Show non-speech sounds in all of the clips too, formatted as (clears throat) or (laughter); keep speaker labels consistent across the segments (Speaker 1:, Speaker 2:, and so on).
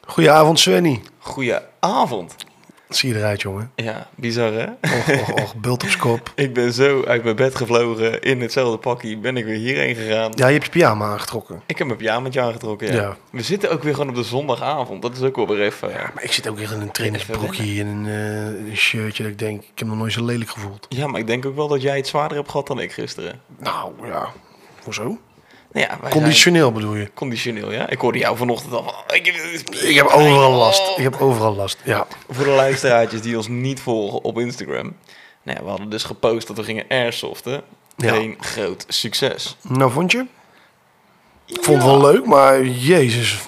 Speaker 1: Goedenavond, Svenny.
Speaker 2: Goedenavond.
Speaker 1: Wat zie je eruit, jongen?
Speaker 2: Ja, bizar hè? (laughs)
Speaker 1: Och, och, och, (laughs) bult op z'n kop.
Speaker 2: Ik ben zo uit mijn bed gevlogen in hetzelfde pakje. Ben ik weer hierheen gegaan.
Speaker 1: Ja, je hebt je pyjama aangetrokken.
Speaker 2: Ik heb mijn pyjamaatje aangetrokken. Ja.
Speaker 1: Ja.
Speaker 2: We zitten ook weer gewoon op de zondagavond. Dat is ook wel weer even... Ja,
Speaker 1: Maar ik zit ook weer in een trainingsbroekje en een, eh, een shirtje dat ik denk, ik heb nog nooit zo lelijk gevoeld.
Speaker 2: maar ik denk ook wel dat jij het zwaarder hebt gehad dan ik gisteren.
Speaker 1: Nou, ja. Hoezo?
Speaker 2: Nou ja, wij zijn
Speaker 1: Conditioneel bedoel je?
Speaker 2: conditioneel, ja. Ik hoorde jou vanochtend al van... "Oh, Ik heb,
Speaker 1: Ik heb overal last. Ik heb overal last, ja.
Speaker 2: Voor de luisteraartjes die ons niet volgen op Instagram. Nou ja, we hadden dus gepost dat we gingen airsoften.
Speaker 1: Ja.
Speaker 2: Een groot succes.
Speaker 1: Nou, vond je? Ik vond het wel leuk, maar (laughs) jezus.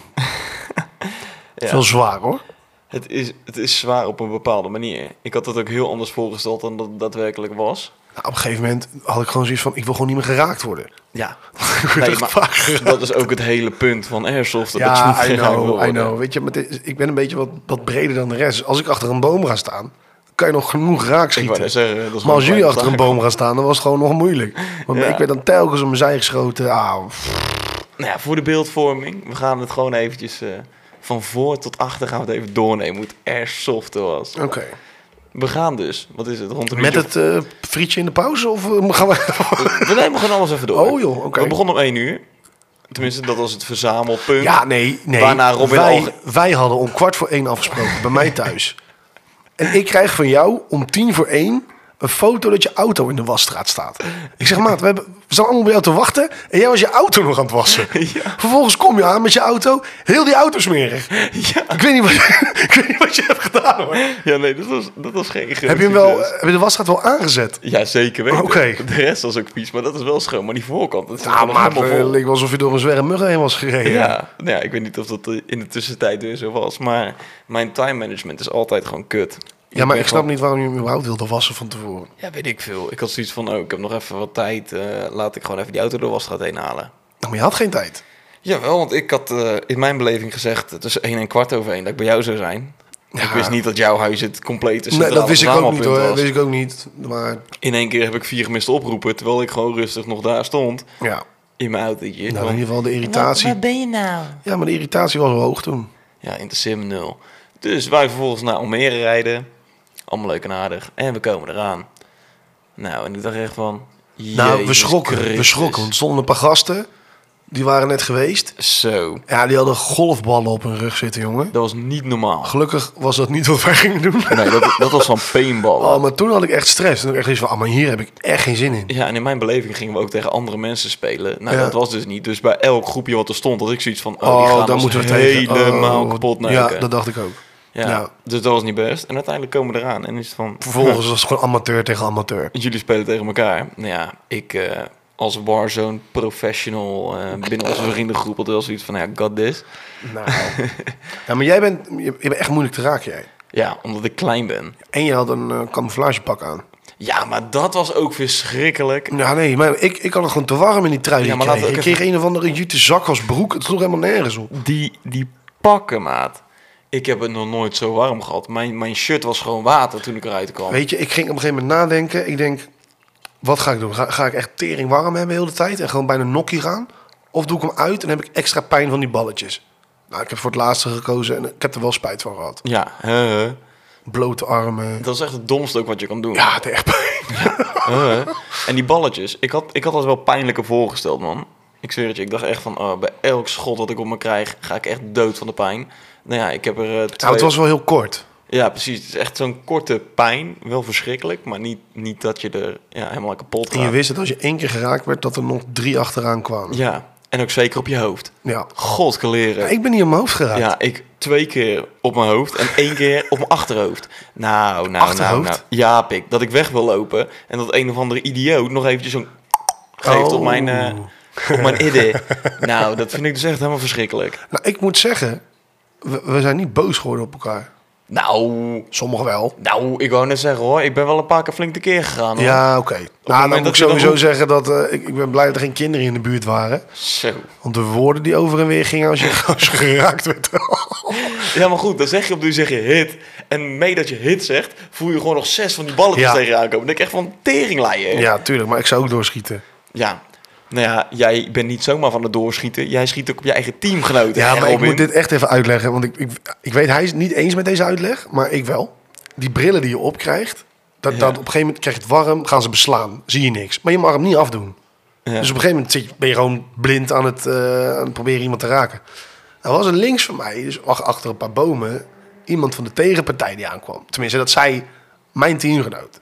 Speaker 2: Ja.
Speaker 1: Veel zwaar, hoor.
Speaker 2: Het is, het is zwaar op een bepaalde manier. Ik had dat ook heel anders voorgesteld dan dat het daadwerkelijk was.
Speaker 1: Nou, op een gegeven moment had ik gewoon zoiets van, ik wil gewoon niet meer geraakt worden.
Speaker 2: Ja.
Speaker 1: Ik word (laughs) echt vaak geraakt.
Speaker 2: dat is ook het hele punt van Airsoft. Dat je niet
Speaker 1: Ja, I
Speaker 2: geraakt wil
Speaker 1: know, I
Speaker 2: worden.
Speaker 1: know. Weet je, maar het is- ik ben een beetje wat, wat breder dan de rest. Als ik achter een boom ga staan, kan je nog genoeg raak
Speaker 2: Ik wou
Speaker 1: schieten.
Speaker 2: net zeggen, dat is
Speaker 1: Maar
Speaker 2: gewoon
Speaker 1: als jullie
Speaker 2: klein
Speaker 1: achter een
Speaker 2: taak.
Speaker 1: boom gaan staan, dan was het gewoon nog moeilijk. Want
Speaker 2: Ja.
Speaker 1: ik werd dan telkens om mijn zij geschoten. Ah, pff.
Speaker 2: Nou ja, voor de beeldvorming, we gaan het gewoon eventjes eh, van voor tot achter gaan we het even doornemen hoe het Airsoft was.
Speaker 1: Oké.
Speaker 2: We gaan dus, wat is het, rond een
Speaker 1: Met
Speaker 2: uurtje
Speaker 1: het eh, frietje in de pauze? Of eh, gaan
Speaker 2: (laughs)
Speaker 1: we...
Speaker 2: of- We nemen gewoon alles even door.
Speaker 1: Oh joh, oké.
Speaker 2: We begonnen om 1 uur. Tenminste, dat was het verzamelpunt.
Speaker 1: Ja, nee, nee.
Speaker 2: Waarna Robin
Speaker 1: wij,
Speaker 2: al-
Speaker 1: wij hadden om kwart voor één afgesproken bij mij thuis. En ik krijg van jou om tien voor één een foto dat je auto in de wasstraat staat. Ik zeg, maat, we, hebben, we staan allemaal bij jou te wachten en jij was je auto nog aan het wassen.
Speaker 2: (laughs) Ja.
Speaker 1: Vervolgens kom je aan met je auto, heel die auto smerig.
Speaker 2: (laughs) ja.
Speaker 1: Ik weet niet wat, (laughs) ik weet niet wat je hebt gedaan hoor.
Speaker 2: Ja, nee, dat was, dat was geen groot
Speaker 1: Heb je, hem wel,
Speaker 2: succes.
Speaker 1: heb je de wasstraat wel aangezet?
Speaker 2: Ja, zeker weten.
Speaker 1: Oké.
Speaker 2: De rest was ook vies, maar dat is wel schoon. Maar die voorkant, dat is
Speaker 1: Nou, maar
Speaker 2: helemaal
Speaker 1: het
Speaker 2: vol.
Speaker 1: leek wel alsof je door een zwerre mug heen was gereden.
Speaker 2: Ja, nou ja, ik weet niet of dat eh, in de tussentijd weer zo was. Maar mijn time management is altijd gewoon kut.
Speaker 1: Ja, maar
Speaker 2: ben
Speaker 1: ik snap
Speaker 2: gewoon-
Speaker 1: niet waarom je hem überhaupt wilde wassen van tevoren.
Speaker 2: Ja, weet ik veel. Ik had zoiets van, oh, ik heb nog even wat tijd. eh, laat ik gewoon even die auto door was heen halen.
Speaker 1: Nou, maar je had geen tijd.
Speaker 2: Jawel, want ik had eh, in mijn beleving gezegd eh, tussen 1 en kwart over 1 dat ik bij jou zou zijn. Ik
Speaker 1: Ja.
Speaker 2: wist niet dat jouw huis het complete
Speaker 1: Nee, dat
Speaker 2: centrale
Speaker 1: wist ik ook niet
Speaker 2: verzamelpunt
Speaker 1: hoor.
Speaker 2: was.
Speaker 1: Dat wist ik ook niet. Maar
Speaker 2: In één keer heb ik vier gemiste oproepen, terwijl ik gewoon rustig nog daar stond
Speaker 1: ja,
Speaker 2: in mijn autootje.
Speaker 1: nou, in
Speaker 2: Gewoon-
Speaker 1: ieder geval de irritatie.
Speaker 2: ben je nou?
Speaker 1: Ja, maar de irritatie was wel hoog toen.
Speaker 2: Ja, interesseer me nul. Dus wij vervolgens naar Almere rijden. Allemaal leuk en aardig. En we komen eraan. Nou, en ik dacht echt van...
Speaker 1: nou, we
Speaker 2: Jezus
Speaker 1: schrokken. We
Speaker 2: Christus.
Speaker 1: schrokken. Er stonden een paar gasten. Die waren net geweest.
Speaker 2: Zo,
Speaker 1: Ja, die hadden golfballen op hun rug zitten, jongen.
Speaker 2: dat was niet normaal.
Speaker 1: Gelukkig was dat niet wat wij (laughs) gingen doen.
Speaker 2: Nee, dat, dat was van paintballen.
Speaker 1: (laughs) Oh, maar toen had ik echt stress. Toen had ik echt iets van, ah, maar hier heb ik echt geen zin in.
Speaker 2: Ja, en in mijn beleving gingen we ook tegen andere mensen spelen. Nou,
Speaker 1: Ja.
Speaker 2: dat was dus niet. Dus bij elk groepje wat er stond, had ik zoiets van... Oh, die
Speaker 1: Oh,
Speaker 2: gaan
Speaker 1: daar
Speaker 2: ons
Speaker 1: moeten we tegen. Oh,
Speaker 2: helemaal kapot
Speaker 1: Ja,
Speaker 2: neuken.
Speaker 1: dat dacht ik ook.
Speaker 2: Ja,
Speaker 1: ja.
Speaker 2: Dus dat was niet best. En uiteindelijk komen we eraan en is het van...
Speaker 1: Vervolgens was het gewoon amateur tegen amateur.
Speaker 2: Jullie spelen tegen elkaar. Nou ja, ik eh, als Warzone professional eh, binnen onze vriendengroep had wel zoiets van, nou ja, god this. (laughs)
Speaker 1: Nou. ja, maar jij bent, je, je bent echt moeilijk te raken, jij.
Speaker 2: Ja, omdat ik klein ben.
Speaker 1: En je had een eh, camouflagepak aan.
Speaker 2: Ja, maar dat was ook verschrikkelijk.
Speaker 1: Ja, Nou, nee, maar ik, ik had het gewoon te warm in die trui.
Speaker 2: Ja,
Speaker 1: die
Speaker 2: maar
Speaker 1: ik
Speaker 2: laten we
Speaker 1: kreeg. ik
Speaker 2: ook
Speaker 1: kreeg een of andere jute zak als broek. Het sloeg helemaal nergens op.
Speaker 2: Die, die pakken, maat. Ik heb het nog nooit zo warm gehad. Mijn, mijn shirt was gewoon water toen ik eruit kwam.
Speaker 1: Weet je, ik ging op een gegeven moment nadenken. Ik denk, wat ga ik doen? Ga, ga ik echt tering warm hebben de hele tijd en gewoon bijna nokkie gaan? Of doe ik hem uit en heb ik extra pijn van die balletjes? Nou, ik heb voor het laatste gekozen en ik heb er wel spijt van gehad.
Speaker 2: Ja, hè, hè.
Speaker 1: Blote armen.
Speaker 2: dat is echt het domste ook wat je kan doen.
Speaker 1: Ja, het echt
Speaker 2: (laughs)
Speaker 1: pijn.
Speaker 2: Hè? En die balletjes, ik had, ik had dat wel pijnlijker voorgesteld, man. Ik zweer het je, ik dacht echt van, oh, bij elk schot dat ik op me krijg, ga ik echt dood van de pijn. Nou ja, ik heb er eh, twee...
Speaker 1: Nou, het was wel heel kort.
Speaker 2: Ja, precies. Het is echt zo'n korte pijn. Wel verschrikkelijk, maar niet, niet dat je er ja, helemaal kapot
Speaker 1: En je
Speaker 2: gaat.
Speaker 1: wist dat als je één keer geraakt werd, dat er nog drie achteraan kwamen. Ja.
Speaker 2: Ja, en ook zeker op je hoofd. God
Speaker 1: Maar
Speaker 2: geleren.
Speaker 1: ik ben niet in mijn hoofd geraakt.
Speaker 2: Ja, ik twee keer op mijn hoofd en één keer op mijn achterhoofd. Nou, nou, nou,
Speaker 1: Achterhoofd?
Speaker 2: nou. Ja, pik. Dat ik weg wil lopen en dat een of andere idioot nog eventjes zo'n geeft op
Speaker 1: Oh.
Speaker 2: mijn... eh, op mijn idde. (laughs) Nou, dat vind ik dus echt helemaal verschrikkelijk.
Speaker 1: Nou, ik moet zeggen, we, we zijn niet boos geworden op elkaar.
Speaker 2: Nou,
Speaker 1: Sommigen wel.
Speaker 2: nou, ik wou net zeggen hoor, ik ben wel een paar keer flink tekeer gegaan. Hoor.
Speaker 1: Ja, oké. Nou,
Speaker 2: moment
Speaker 1: dan moet ik
Speaker 2: dat je dan
Speaker 1: sowieso
Speaker 2: roept-
Speaker 1: zeggen dat eh, ik, ik ben blij dat er geen kinderen in de buurt waren.
Speaker 2: Zo.
Speaker 1: Want de woorden die over en weer gingen als
Speaker 2: (laughs)
Speaker 1: je, als je geraakt werd.
Speaker 2: Ja, maar goed, dan zeg je op nu zeg je hit. En mee dat je hit zegt, voel je gewoon nog zes van die balletjes
Speaker 1: Ja.
Speaker 2: tegenaan komen. Dan denk ik echt van teringleien.
Speaker 1: ja, tuurlijk, maar ik zou ook doorschieten.
Speaker 2: ja. Nou ja, jij bent niet zomaar van het doorschieten. Jij schiet ook op je eigen teamgenoten.
Speaker 1: Ja,
Speaker 2: hè,
Speaker 1: maar ik
Speaker 2: Robin?
Speaker 1: moet dit echt even uitleggen. Want ik, ik, ik weet, hij is het niet eens met deze uitleg, maar ik wel. Die brillen die je opkrijgt, dat,
Speaker 2: Ja.
Speaker 1: dat op een gegeven moment krijg je het warm, gaan ze beslaan. Zie je niks. Maar je mag hem niet afdoen.
Speaker 2: Ja.
Speaker 1: Dus op een gegeven moment zit je- ben je gewoon blind aan het, eh, aan het proberen iemand te raken. Er was een links van mij, dus ach- achter een paar bomen, iemand van de tegenpartij die aankwam. Tenminste, dat zei mijn teamgenoot.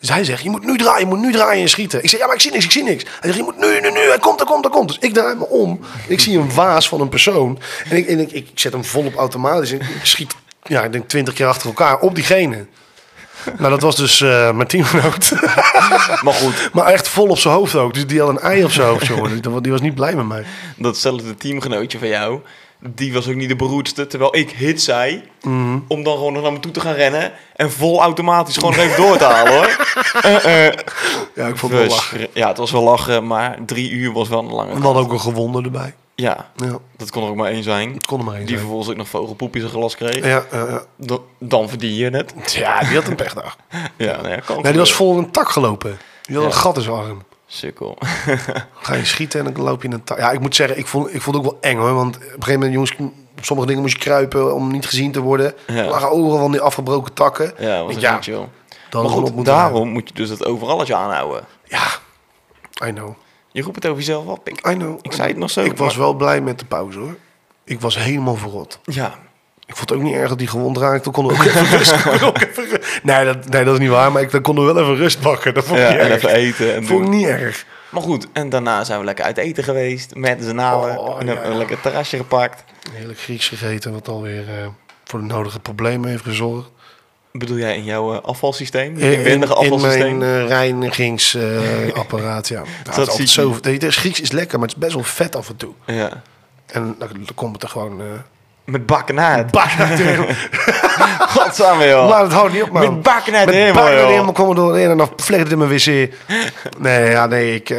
Speaker 1: Dus hij zegt, je moet nu draaien, je moet nu draaien en schieten. Ik zeg, ja, maar ik zie niks, ik zie niks. Hij zegt, je moet nu, nu, nu, hij komt, hij komt, hij komt. Dus ik draai me om. Ik zie een waas van een persoon. En ik, en ik, ik zet hem volop automatisch en ik schiet, ja, ik denk twintig keer achter elkaar op diegene. Nou, dat was dus eh, mijn teamgenoot. (laughs)
Speaker 2: Maar goed,
Speaker 1: Maar echt vol op zijn hoofd ook. Dus die had een ei op zijn hoofd, jongen. Dus dat- Die was niet blij met mij.
Speaker 2: datzelfde teamgenootje van jou, die was ook niet de beroerdste. Terwijl ik hit zei,
Speaker 1: Mhm.
Speaker 2: om dan gewoon nog naar me toe te gaan rennen. En vol automatisch gewoon nog even door te halen
Speaker 1: (laughs)
Speaker 2: hoor.
Speaker 1: Ja, ik vond het wel
Speaker 2: Dus,
Speaker 1: lachen.
Speaker 2: ja, het was wel lachen, maar drie uur was wel een
Speaker 1: En
Speaker 2: lange.
Speaker 1: we hadden ook een gewonden erbij.
Speaker 2: Ja,
Speaker 1: Ja,
Speaker 2: dat kon er ook maar één zijn.
Speaker 1: het kon er maar één
Speaker 2: Die
Speaker 1: zijn.
Speaker 2: vervolgens ook nog vogelpoepjes in zijn glas kreeg.
Speaker 1: Ja, ja, ja.
Speaker 2: Dan- Dan verdien je het.
Speaker 1: ja, die had een pechdag.
Speaker 2: Ja, nou ja, kan
Speaker 1: Nee, die was
Speaker 2: gebeuren.
Speaker 1: vol in een tak gelopen. Die had
Speaker 2: Ja.
Speaker 1: een gat in zijn arm.
Speaker 2: Sukkel.
Speaker 1: Ga je schieten en dan loop je in een tak. Ja, ik moet zeggen, ik vond, ik vond het ook wel eng hoor. Want op een gegeven moment, jongens, sommige dingen moest je kruipen om niet gezien te worden.
Speaker 2: Ja.
Speaker 1: Er lagen overal van die afgebroken takken.
Speaker 2: Ja, was
Speaker 1: Ja.
Speaker 2: ja. chill.
Speaker 1: Dan
Speaker 2: maar
Speaker 1: gewoon op
Speaker 2: goed,
Speaker 1: moeten
Speaker 2: daarom moet je dus dat overalletje aanhouden.
Speaker 1: Ja, I know.
Speaker 2: Je roept het over jezelf op. Ik,
Speaker 1: I know.
Speaker 2: ik zei het nog zo.
Speaker 1: Ik was
Speaker 2: maar-
Speaker 1: wel blij met de pauze hoor. Ik was helemaal verrot.
Speaker 2: Ja,
Speaker 1: Ik vond het ook niet erg dat hij gewond raakte. Dan konden we ook
Speaker 2: (laughs)
Speaker 1: even rust we konden ook even ru- nee, dat, nee, dat is niet waar. Maar ik dan konden we wel even rust pakken. Dat (laughs) vond ik
Speaker 2: ja
Speaker 1: niet
Speaker 2: en
Speaker 1: erg.
Speaker 2: even eten. En
Speaker 1: Dat vond ik
Speaker 2: doen.
Speaker 1: niet erg.
Speaker 2: Maar goed, en daarna zijn we lekker uit eten geweest. Met z'n allen.
Speaker 1: Oh, ja.
Speaker 2: en hebben we een lekker terrasje gepakt.
Speaker 1: Heerlijk Grieks gegeten. Wat alweer eh, voor de nodige problemen heeft gezorgd.
Speaker 2: Bedoel jij in jouw eh, afvalsysteem? Je
Speaker 1: In, in,
Speaker 2: inwendige afvalsysteem?
Speaker 1: mijn eh, reinigingsapparaat,
Speaker 2: (laughs)
Speaker 1: ja. Nou, het is
Speaker 2: ziet
Speaker 1: altijd zo, weet je, Grieks is lekker, maar het is best wel vet af en toe.
Speaker 2: Ja.
Speaker 1: En dan, dan komt het er gewoon... eh (laughs)
Speaker 2: Met bakken uit. het. (laughs)
Speaker 1: bak uit de hemel.
Speaker 2: Godsamme, joh.
Speaker 1: Laat het houdt niet op, man.
Speaker 2: Met bakken uit
Speaker 1: Met
Speaker 2: de hemel,
Speaker 1: bakken uit de
Speaker 2: joh.
Speaker 1: hemel komen we doorheen en dan vlecht het in mijn wc. Nee, ja, nee, ik... eh,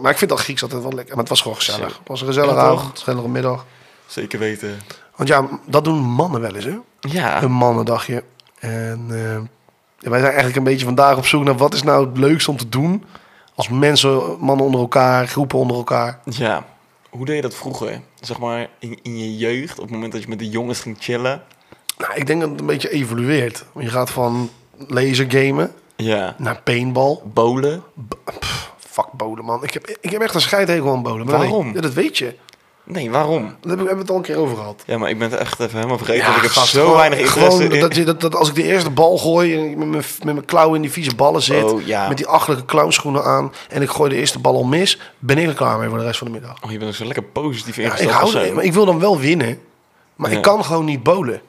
Speaker 1: maar ik vind dat Grieks altijd wel lekker. Maar het was gewoon gezellig. Het was een gezellige
Speaker 2: Ja, toch?
Speaker 1: avond, gezellige middag.
Speaker 2: Zeker weten.
Speaker 1: Want ja, dat doen mannen wel eens, hè?
Speaker 2: Ja.
Speaker 1: Een mannendagje. En eh, wij zijn eigenlijk een beetje vandaag op zoek naar wat is nou het leukste om te doen... als mensen, mannen onder elkaar, groepen onder elkaar.
Speaker 2: Ja. Hoe deed je dat vroeger? Zeg maar in, in je jeugd, op het moment dat je met de jongens ging chillen.
Speaker 1: Nou, ik denk dat het een beetje evolueert. Want je gaat van laser gamen
Speaker 2: Ja.
Speaker 1: naar paintball.
Speaker 2: Bolen.
Speaker 1: Fuck bolen, man. Ik heb, ik heb echt een scheidregel aan bolen. maar dat
Speaker 2: Waarom?
Speaker 1: weet- ja, dat weet je.
Speaker 2: Nee, waarom?
Speaker 1: Daar heb ik- hebben we het al een keer over gehad.
Speaker 2: Ja, maar ik ben het echt even helemaal vergeten. want ik heb
Speaker 1: gast,
Speaker 2: zo
Speaker 1: gewoon-
Speaker 2: weinig interesse
Speaker 1: gewoon
Speaker 2: in.
Speaker 1: Dat, je- dat, dat als ik de eerste bal gooi en ik met mijn, met mijn klauwen in die vieze ballen zit...
Speaker 2: Oh, ja.
Speaker 1: met die achterlijke clownschoenen aan en ik gooi de eerste bal al mis... ben ik er klaar mee voor de rest van de middag.
Speaker 2: Oh, je bent ook zo lekker positief
Speaker 1: Ja,
Speaker 2: ingesteld.
Speaker 1: ik,
Speaker 2: of
Speaker 1: hou
Speaker 2: zo.
Speaker 1: er- maar ik wil dan wel winnen, maar
Speaker 2: Ja.
Speaker 1: ik kan gewoon niet bolen.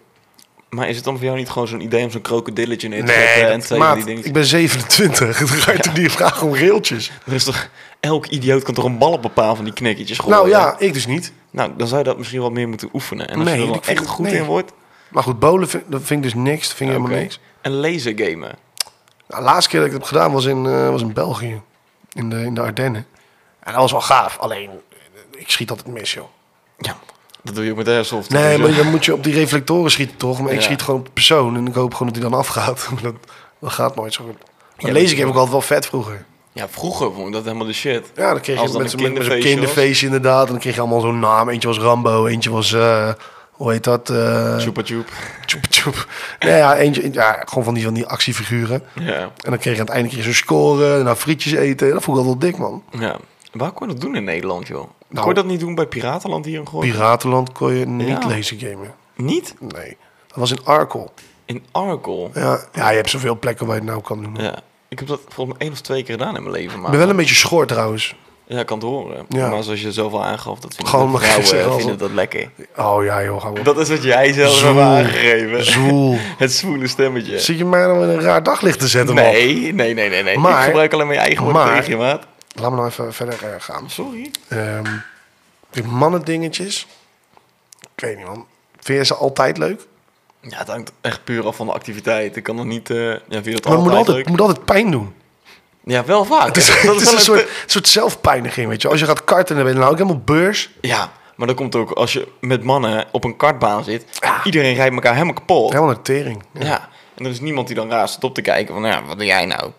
Speaker 2: Maar is het dan voor jou niet gewoon zo'n idee om zo'n krokodilletje neer te zetten
Speaker 1: Nee,
Speaker 2: en
Speaker 1: dat,
Speaker 2: twee van
Speaker 1: maat,
Speaker 2: die dingetjes?
Speaker 1: ik ben 27. (laughs) Dan ga je toch niet vragen om reeltjes?
Speaker 2: Er is toch, elk idioot kan toch een bal op een paar van die knikkertjes gooien?
Speaker 1: Nou ja, ik dus niet.
Speaker 2: Nou, dan zou je dat misschien wat meer moeten oefenen. En als
Speaker 1: Nee,
Speaker 2: je er dan
Speaker 1: ik vind
Speaker 2: echt
Speaker 1: het-
Speaker 2: goed
Speaker 1: nee.
Speaker 2: in wordt...
Speaker 1: Maar goed, bolen vind, dat vind ik dus niks. Dat vind ik
Speaker 2: oké.
Speaker 1: helemaal niks.
Speaker 2: En laser gamen.
Speaker 1: Nou, de laatste keer dat ik dat heb gedaan was in, eh, was in België. In de, in de Ardennen. En dat was wel gaaf. Alleen, eh, ik schiet altijd mis, joh.
Speaker 2: Ja, dat doe je ook met airsoft.
Speaker 1: Nee,
Speaker 2: Dus,
Speaker 1: maar
Speaker 2: eh,
Speaker 1: dan moet je op die reflectoren schieten, toch? Maar ik
Speaker 2: Ja.
Speaker 1: schiet gewoon op de persoon. En ik hoop gewoon dat die dan afgaat. (laughs) Maar dat, dat gaat nooit zo goed. Maar
Speaker 2: Ja,
Speaker 1: lees
Speaker 2: dat-
Speaker 1: ik heb ik altijd wel vet vroeger.
Speaker 2: Ja, vroeger vond ik dat helemaal de shit.
Speaker 1: Ja, dan kreeg
Speaker 2: Als
Speaker 1: je
Speaker 2: dan
Speaker 1: met
Speaker 2: een
Speaker 1: zo'n met zo'n
Speaker 2: kinderfeestje was.
Speaker 1: kinderfeestje inderdaad. En dan kreeg je allemaal zo'n naam. Eentje was Rambo, eentje was... eh, hoe heet dat? eh
Speaker 2: Chupa chup.
Speaker 1: tjoep, tjoep. (laughs) Nee, ja, eentje, ja, gewoon van die, van die actiefiguren.
Speaker 2: Ja.
Speaker 1: En dan kreeg je aan het einde kreeg je zo'n score. En dan frietjes eten. Dat vond ik altijd wel dik, man.
Speaker 2: ja. Waar kon je dat doen in Nederland, joh?
Speaker 1: Nou-
Speaker 2: kon je dat niet doen bij Piratenland hier in Goor?
Speaker 1: Piratenland kon je niet
Speaker 2: Ja.
Speaker 1: lezen gamen.
Speaker 2: niet?
Speaker 1: Nee. Dat was in Arkel.
Speaker 2: In Arkel?
Speaker 1: Ja, ja, je hebt zoveel plekken waar je het nou kan doen.
Speaker 2: Ja. Ik heb dat volgens mij één of twee keer gedaan in mijn leven.
Speaker 1: Ik
Speaker 2: Maar...
Speaker 1: ben wel een beetje schor trouwens.
Speaker 2: Ja, ik kan het horen.
Speaker 1: Ja.
Speaker 2: Maar zoals je zelf al aangaf, dat vinden
Speaker 1: Gewoon
Speaker 2: de
Speaker 1: maar (laughs)
Speaker 2: vrouwen eh,
Speaker 1: gisteren al.
Speaker 2: vinden dat lekker.
Speaker 1: Oh ja, joh. Hou op.
Speaker 2: Dat is wat jij zelf
Speaker 1: Zoel.
Speaker 2: hebt aangegeven.
Speaker 1: Zoel.
Speaker 2: (laughs) Het zwoele stemmetje.
Speaker 1: Zit je mij nou in een raar daglicht te zetten, man?
Speaker 2: Nee, nee, nee, nee. nee.
Speaker 1: Maar-
Speaker 2: ik gebruik alleen mijn eigen woorden
Speaker 1: maar-
Speaker 2: tegen je, maat.
Speaker 1: Laat me nou even verder eh, gaan.
Speaker 2: Sorry.
Speaker 1: Ehm die mannendingetjes. Ik weet niet, man. Vind je ze altijd leuk?
Speaker 2: Ja, het hangt echt puur af van de activiteit. Ik kan nog niet... eh ja, vind je dat
Speaker 1: Maar het moet
Speaker 2: altijd
Speaker 1: altijd,
Speaker 2: leuk?
Speaker 1: het moet altijd pijn doen.
Speaker 2: (laughs) Ja, wel vaak.
Speaker 1: Het is, (laughs)
Speaker 2: Dat
Speaker 1: het is
Speaker 2: wel
Speaker 1: een
Speaker 2: het-
Speaker 1: soort, soort zelfpijniging, weet je. Als je gaat karten, dan ben je nou ook helemaal beurs.
Speaker 2: Ja, maar dat komt ook als je met mannen op een kartbaan zit. Iedereen rijdt elkaar helemaal kapot.
Speaker 1: Helemaal naar de tering.
Speaker 2: Ja. En er is niemand die dan raast op te kijken van, nou ja, wat doe jij nou?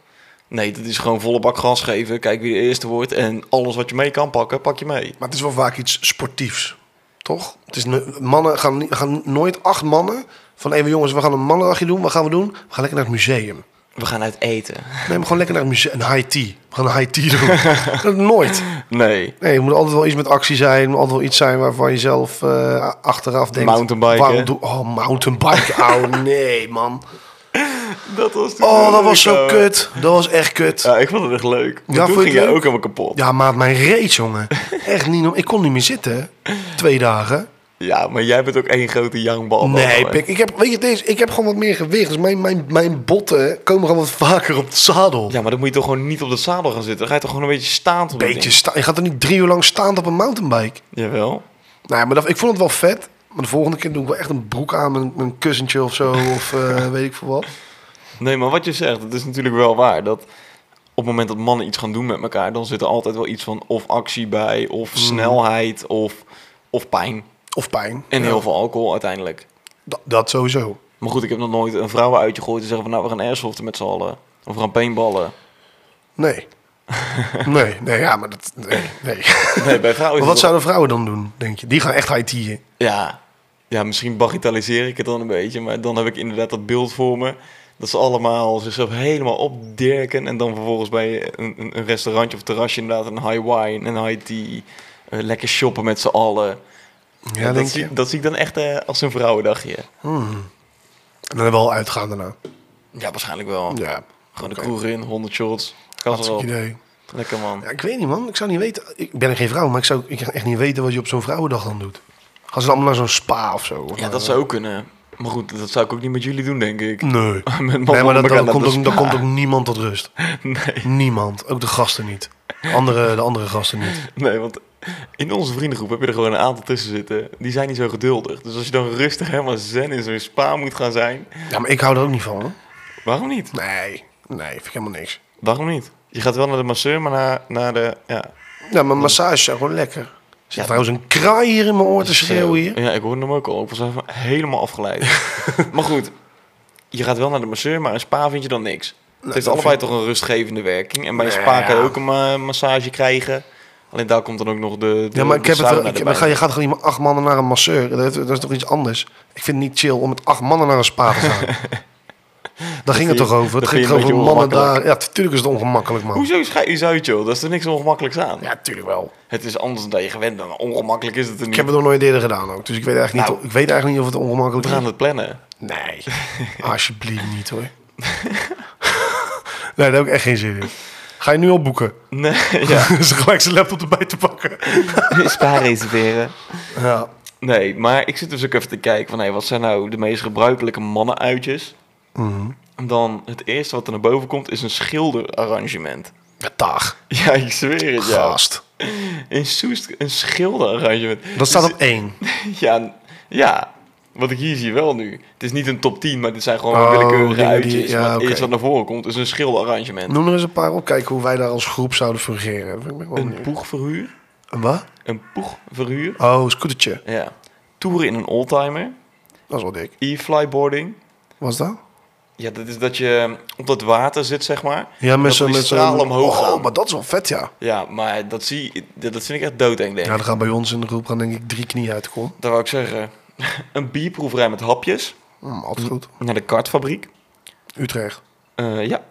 Speaker 2: Nee, dat is gewoon volle bak gas geven. Kijk wie de eerste wordt. En alles wat je mee kan pakken, pak je mee.
Speaker 1: Maar het is wel vaak iets sportiefs, toch? Het is, no- mannen gaan, niet- gaan nooit acht mannen van even jongens, we gaan een mannendagje doen. Wat gaan we doen? We gaan lekker naar het museum.
Speaker 2: We gaan uit eten.
Speaker 1: Neem gewoon lekker naar het museum. Een high tea. We gaan een high tea
Speaker 2: (laughs)
Speaker 1: doen. Dat nooit.
Speaker 2: Nee.
Speaker 1: Nee, er moet altijd wel iets met actie zijn. Er moet altijd wel iets zijn waarvan je zelf eh, achteraf denkt...
Speaker 2: Mountainbiken.
Speaker 1: Waarom doe... Oh, mountainbiken. Oh, nee, man.
Speaker 2: Dat was toen
Speaker 1: Oh, dat
Speaker 2: leuk,
Speaker 1: was zo
Speaker 2: ouwe.
Speaker 1: kut. Dat was echt kut.
Speaker 2: Ja, ik vond het echt leuk. Maar
Speaker 1: Ja,
Speaker 2: toen
Speaker 1: vond je het
Speaker 2: ging jij
Speaker 1: leuk?
Speaker 2: ook helemaal kapot. Ja.
Speaker 1: Ja, maat, mijn reet, jongen. Echt niet... norm- Ik kon niet meer zitten. Twee dagen.
Speaker 2: maar jij bent ook één grote jangbal.
Speaker 1: Nee,
Speaker 2: Oh, man.
Speaker 1: pik. Ik heb, weet je, deze, ik heb gewoon wat meer gewicht. Dus mijn, mijn, mijn botten komen gewoon wat vaker op de zadel.
Speaker 2: Ja, maar dan moet je toch gewoon niet op de zadel gaan zitten. Dan ga je toch gewoon een beetje staand op dat
Speaker 1: Beetje sta- je gaat er niet drie uur lang staand op een mountainbike.
Speaker 2: ding? Jawel.
Speaker 1: Nou, ja, maar dat, ik vond het wel vet. Maar de volgende keer doe ik wel echt een broek aan, een, een kussentje of
Speaker 2: (laughs)
Speaker 1: zo. Of eh, weet ik veel wat.
Speaker 2: Nee, maar wat je zegt, het is natuurlijk wel waar. Dat op het moment dat mannen iets gaan doen met elkaar, dan zit er altijd wel iets van of actie bij, of snelheid, of, of pijn.
Speaker 1: Of pijn.
Speaker 2: En
Speaker 1: Ja,
Speaker 2: heel veel alcohol uiteindelijk.
Speaker 1: da- dat sowieso.
Speaker 2: Maar goed, ik heb nog nooit een vrouw uitje gegooid en zeggen van nou, we gaan airsoften met z'n allen. Of we gaan paintballen. (laughs)
Speaker 1: Nee. nee, nee, ja, maar dat... Nee, nee.
Speaker 2: Nee,
Speaker 1: Maar
Speaker 2: bij vrouwen is
Speaker 1: wat
Speaker 2: het wel-
Speaker 1: zouden vrouwen dan doen, denk je? Die gaan echt IT'en.
Speaker 2: Ja. ja, misschien bagatelliseer ik het dan een beetje, maar dan heb ik inderdaad dat beeld voor me. Dat ze allemaal zichzelf helemaal opdirken en dan vervolgens bij een, een- een restaurantje of terrasje inderdaad een high wine, een high tea, eh, lekker shoppen met z'n allen.
Speaker 1: Ja,
Speaker 2: dat,
Speaker 1: denk
Speaker 2: zie,
Speaker 1: je?
Speaker 2: dat zie ik dan echt eh, als een vrouwendagje.
Speaker 1: En dan wel uitgaan daarna.
Speaker 2: Ja, waarschijnlijk wel.
Speaker 1: Ja.
Speaker 2: Gewoon de
Speaker 1: Oké.
Speaker 2: kroeg in, 100 shots. Kan ze
Speaker 1: Hartstikke
Speaker 2: wel.
Speaker 1: idee.
Speaker 2: Lekker man.
Speaker 1: Ja, ik weet niet, man. Ik zou niet weten. Ik ben geen vrouw, maar ik zou ik kan echt niet weten wat je op zo'n vrouwendag dan doet. Gaan ze dan allemaal naar zo'n spa of zo? Of
Speaker 2: Ja,
Speaker 1: naar-
Speaker 2: dat zou ook kunnen. Maar goed, dat zou ik ook niet met jullie doen, denk ik.
Speaker 1: Nee.
Speaker 2: (laughs) mannen
Speaker 1: nee, maar
Speaker 2: op
Speaker 1: dat,
Speaker 2: elkaar
Speaker 1: dan,
Speaker 2: naar
Speaker 1: komt
Speaker 2: de
Speaker 1: ook, dan komt ook niemand tot (laughs) rust.
Speaker 2: Nee,
Speaker 1: Niemand. Ook de gasten niet. Andere, de andere gasten niet.
Speaker 2: nee, want in onze vriendengroep heb je er gewoon een aantal tussen zitten. Die zijn niet zo geduldig. Dus als je dan rustig helemaal zen in zo'n spa moet gaan zijn,
Speaker 1: Ja, maar ik hou er ook niet van. hoor.
Speaker 2: waarom niet?
Speaker 1: Nee. Nee, vind ik helemaal niks.
Speaker 2: Waarom niet? Je gaat wel naar de masseur, maar naar, naar de... Ja,
Speaker 1: Ja, maar massage zou gewoon lekker. Er zit
Speaker 2: Ja.
Speaker 1: trouwens een kraai hier eh, in mijn oor te schreeuwen hier.
Speaker 2: Eh, Ja, ik hoorde hem ook al. Ik was even helemaal
Speaker 1: (laughs)
Speaker 2: afgeleid. maar goed, je gaat wel naar de masseur, maar een spa vind je dan niks. het heeft
Speaker 1: dat
Speaker 2: allebei toch een rustgevende werking. En bij een
Speaker 1: Nou
Speaker 2: spa kan je
Speaker 1: ja.
Speaker 2: ook een ma- massage krijgen. Alleen daar komt dan ook nog de, de
Speaker 1: Ja, maar ik
Speaker 2: de
Speaker 1: heb het
Speaker 2: sauna
Speaker 1: wel- ik,
Speaker 2: erbij.
Speaker 1: maar ga, je gaat gewoon niet met acht mannen naar een masseur. Dat, dat is toch iets anders? Ik vind het niet chill om met acht mannen naar een spa te (laughs) gaan. Daar ging het
Speaker 2: je-
Speaker 1: toch over?
Speaker 2: dat
Speaker 1: Het
Speaker 2: vind
Speaker 1: ging
Speaker 2: je
Speaker 1: toch
Speaker 2: een
Speaker 1: over
Speaker 2: beetje
Speaker 1: mannen daar. Ja, natuurlijk is het ongemakkelijk, man.
Speaker 2: Hoezo schijt je uit, joh? Daar is er niks ongemakkelijks aan.
Speaker 1: Ja, natuurlijk wel.
Speaker 2: Het is anders dan dat je gewend bent. Ongemakkelijk is het er
Speaker 1: Ik
Speaker 2: niet.
Speaker 1: heb het nog nooit eerder gedaan ook. Dus ik weet eigenlijk,
Speaker 2: Nou.
Speaker 1: niet, of- ik weet eigenlijk niet of het ongemakkelijk
Speaker 2: We
Speaker 1: is.
Speaker 2: gaan het plannen.
Speaker 1: Nee, (laughs) alsjeblieft niet hoor. nee, daar heb ik echt geen zin in. Ga je nu al boeken? (laughs)
Speaker 2: Nee,
Speaker 1: Ja.
Speaker 2: ja.
Speaker 1: dus gelijk zijn laptop erbij te pakken.
Speaker 2: spa reserveren.
Speaker 1: Ja.
Speaker 2: Nee, maar ik zit dus ook even te kijken van... Hé, wat zijn nou de meest gebruikelijke mannenuitjes?
Speaker 1: Mhm.
Speaker 2: En dan het eerste wat er naar boven komt is een schilderarrangement. (laughs)
Speaker 1: Ja, dag.
Speaker 2: Ja, ik zweer het, ja.
Speaker 1: Gast.
Speaker 2: In Soest een schilderarrangement. Dus
Speaker 1: Dat staat op één.
Speaker 2: (laughs) Ja, ja, wat ik hier zie wel nu. Het is niet een top 10, maar dit zijn gewoon
Speaker 1: Oh,
Speaker 2: willekeurige
Speaker 1: dingen die-
Speaker 2: uitjes.
Speaker 1: ja,
Speaker 2: maar het
Speaker 1: oké.
Speaker 2: eerste wat naar voren komt is een schilderarrangement.
Speaker 1: Noem er eens een paar op. Kijken hoe wij daar als groep zouden fungeren. Vind ik wel
Speaker 2: Een
Speaker 1: benieuwd.
Speaker 2: poegverhuur.
Speaker 1: Een wat?
Speaker 2: Een poegverhuur.
Speaker 1: Oh, een scootertje.
Speaker 2: Ja. Toeren in een oldtimer.
Speaker 1: Dat is wel dik.
Speaker 2: E-flyboarding.
Speaker 1: Wat is dat?
Speaker 2: Ja, dat is dat je op dat water zit, zeg maar.
Speaker 1: Ja,
Speaker 2: Dat
Speaker 1: met zo'n...
Speaker 2: die
Speaker 1: met zo'n-
Speaker 2: stralen omhoog gaan.
Speaker 1: Oh, maar dat is wel vet, ja.
Speaker 2: Ja, maar dat, zie, dat dat vind ik echt doodeng, denk ik.
Speaker 1: Ja, dan gaan bij ons in de groep gaan denk ik drie knieën uitkomen.
Speaker 2: Dat wou ik zeggen. (laughs) Een bierproeverij met hapjes.
Speaker 1: Hm, altijd goed.
Speaker 2: Naar de kartfabriek.
Speaker 1: Utrecht.
Speaker 2: Eh, ja.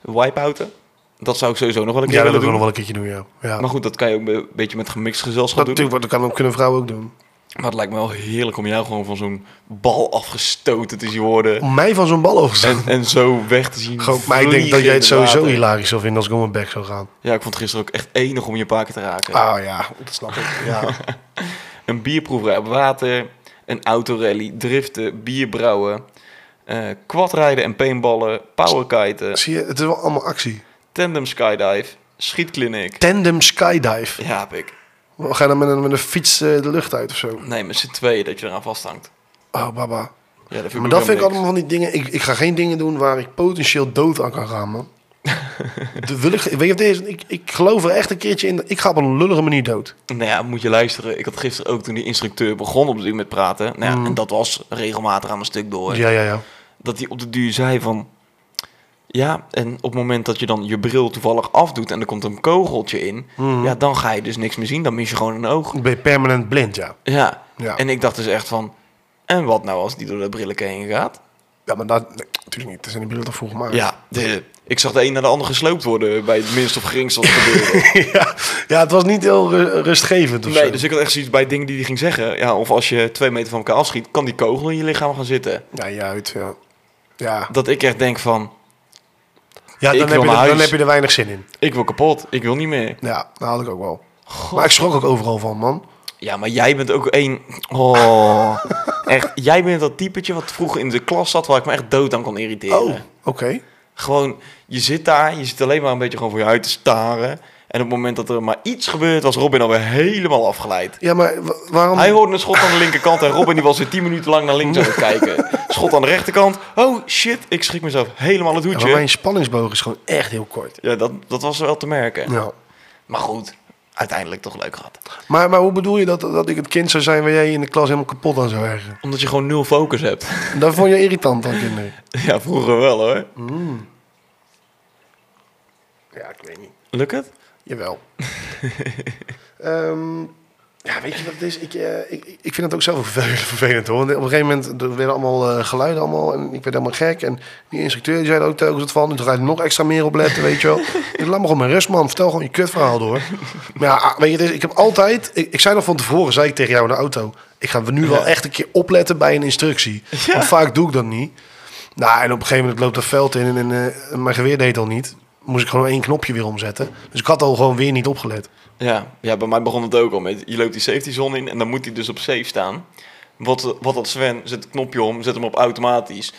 Speaker 2: Wipeouten. Dat zou ik sowieso nog wel een keer
Speaker 1: Ja, dat wil
Speaker 2: willen
Speaker 1: ik
Speaker 2: doen.
Speaker 1: nog wel een keertje doen, ja. ja.
Speaker 2: Maar goed, dat kan je ook een beetje met gemixt gezelschap
Speaker 1: Dat,
Speaker 2: doen.
Speaker 1: natuurlijk, dat kan, dat kunnen vrouwen ook doen.
Speaker 2: Maar het lijkt me wel heerlijk om jou gewoon van zo'n bal afgestoten te zien
Speaker 1: (laughs)
Speaker 2: worden.
Speaker 1: Om mij van zo'n bal over te
Speaker 2: En, en zo weg te zien.
Speaker 1: Gewoon, maar ik denk
Speaker 2: vliegen
Speaker 1: dat jij het
Speaker 2: in
Speaker 1: sowieso
Speaker 2: water.
Speaker 1: hilarisch zou vinden als ik om mijn bek zou gaan.
Speaker 2: Ja, ik vond het gisteren ook echt enig om je een paar keer te raken.
Speaker 1: Ah ja, dat snap ik.
Speaker 2: (laughs)
Speaker 1: Ja.
Speaker 2: Een bierproeverij op water. Een autorally. Driften. Bier brouwen. eh, quadrijden en paintballen. Powerkiten.
Speaker 1: Zie je, het is wel allemaal actie.
Speaker 2: Tandem skydive. Schietkliniek.
Speaker 1: Tandem skydive.
Speaker 2: Ja, heb ik.
Speaker 1: Ga je dan met een, met een fiets eh, de lucht uit of zo?
Speaker 2: Nee, met z'n tweeën dat je eraan vasthangt.
Speaker 1: Oh, baba.
Speaker 2: Ja, dat vind ik
Speaker 1: Maar dat
Speaker 2: ook
Speaker 1: vind ik
Speaker 2: helemaal
Speaker 1: allemaal van die dingen. Ik, ik ga geen dingen doen waar ik potentieel dood aan kan gaan, man.
Speaker 2: (laughs)
Speaker 1: De, wil ik, weet je wat deze? Ik, ik geloof er echt een keertje in. dat Ik ga op een lullige manier dood.
Speaker 2: niks. Nou ja, moet je luisteren. Ik had gisteren ook toen die instructeur begon op die met praten. Nou
Speaker 1: Mm.
Speaker 2: ja, En dat was regelmatig aan mijn stuk door.
Speaker 1: Ja, ja, ja.
Speaker 2: Dat hij op de duur zei van... Ja, en op het moment dat je dan je bril toevallig afdoet en er komt een kogeltje in,
Speaker 1: Mm.
Speaker 2: ja, dan ga je dus niks meer zien. Dan mis je gewoon een oog.
Speaker 1: Dan ben je permanent blind, ja.
Speaker 2: Ja.
Speaker 1: Ja.
Speaker 2: En ik dacht dus echt van, en wat nou als die door de brillenken heen gaat?
Speaker 1: Ja, maar dat... Nee, natuurlijk niet. Dat zijn die brillen toch vroeger gemaakt.
Speaker 2: Ja, de, ik zag de een naar de ander gesloopt worden bij het minst of geringst wat er gebeurde.
Speaker 1: (laughs) ja. Ja, het was niet heel ru- rustgevend of
Speaker 2: Nee,
Speaker 1: zo.
Speaker 2: dus ik had echt zoiets bij dingen die hij ging zeggen. Ja, of als je twee meter van elkaar afschiet, kan die kogel in je lichaam gaan zitten.
Speaker 1: Ja, je huid, ja. Ja,
Speaker 2: Dat ik echt denk van,
Speaker 1: ja
Speaker 2: Ik
Speaker 1: dan, heb
Speaker 2: wil
Speaker 1: je
Speaker 2: naar
Speaker 1: er, dan
Speaker 2: huis.
Speaker 1: heb je er weinig zin in.
Speaker 2: ik wil kapot, ik wil niet meer.
Speaker 1: Ja, dat had ik ook wel. Maar ik schrok ook overal van, man.
Speaker 2: Ja, maar jij bent ook één... Oh, echt, jij bent dat typetje wat vroeger in de klas zat, waar ik me echt dood aan kon irriteren.
Speaker 1: Oh, oké.
Speaker 2: Gewoon, je zit daar, je zit alleen maar een beetje gewoon voor je uit te staren. En op het moment dat er maar iets gebeurt, was Robin alweer helemaal afgeleid.
Speaker 1: Ja, maar wa- waarom...
Speaker 2: Hij hoorde een schot aan de linkerkant en Robin die was weer 10 minuten lang naar links aan het kijken. Schot aan de rechterkant. Oh shit, ik schrik mezelf helemaal het
Speaker 1: Ja, maar
Speaker 2: hoedje.
Speaker 1: mijn spanningsboog is gewoon echt heel kort.
Speaker 2: Ja, dat, dat was wel te merken.
Speaker 1: Ja.
Speaker 2: Maar goed, uiteindelijk toch leuk gehad.
Speaker 1: Maar, maar hoe bedoel je dat, dat ik het kind zou zijn waar jij in de klas helemaal kapot aan zou ergen?
Speaker 2: Omdat je gewoon nul focus hebt. (laughs)
Speaker 1: Dat vond je irritant aan kinderen?
Speaker 2: Ja, vroeger wel hoor.
Speaker 1: Ja, ik weet niet.
Speaker 2: Lukt het?
Speaker 1: Jawel. (laughs) Ehm, ja, weet je wat het is? Ik, eh, ik, ik vind het ook zelf ook vervelend, (laughs) vervelend hoor. Want op een gegeven moment er werden allemaal eh, geluiden allemaal en ik werd helemaal gek. En die instructeur die zei er ook telkens wat van. Dus daar ga je er nog extra meer op letten, weet je wel. Dus laat me gewoon mijn rust, man. Vertel gewoon je kutverhaal door. Maar ja, ah, weet je, het is, ik heb altijd... Ik, ik zei nog van tevoren, zei ik tegen jou in de auto... Ik ga nu wel
Speaker 2: Ja.
Speaker 1: echt een keer opletten bij een instructie. Want vaak doe ik dat niet. Nou, en op een gegeven moment loopt dat veld in en, eh, mijn geweer deed al niet. Moest ik gewoon één knopje weer omzetten. Dus ik had al gewoon weer niet opgelet.
Speaker 2: Ja, ja, bij mij begon het ook al met... Je loopt die safety zone in en dan moet hij dus op safe staan. Wat, wat had Sven? Zet het knopje om, zet hem op automatisch.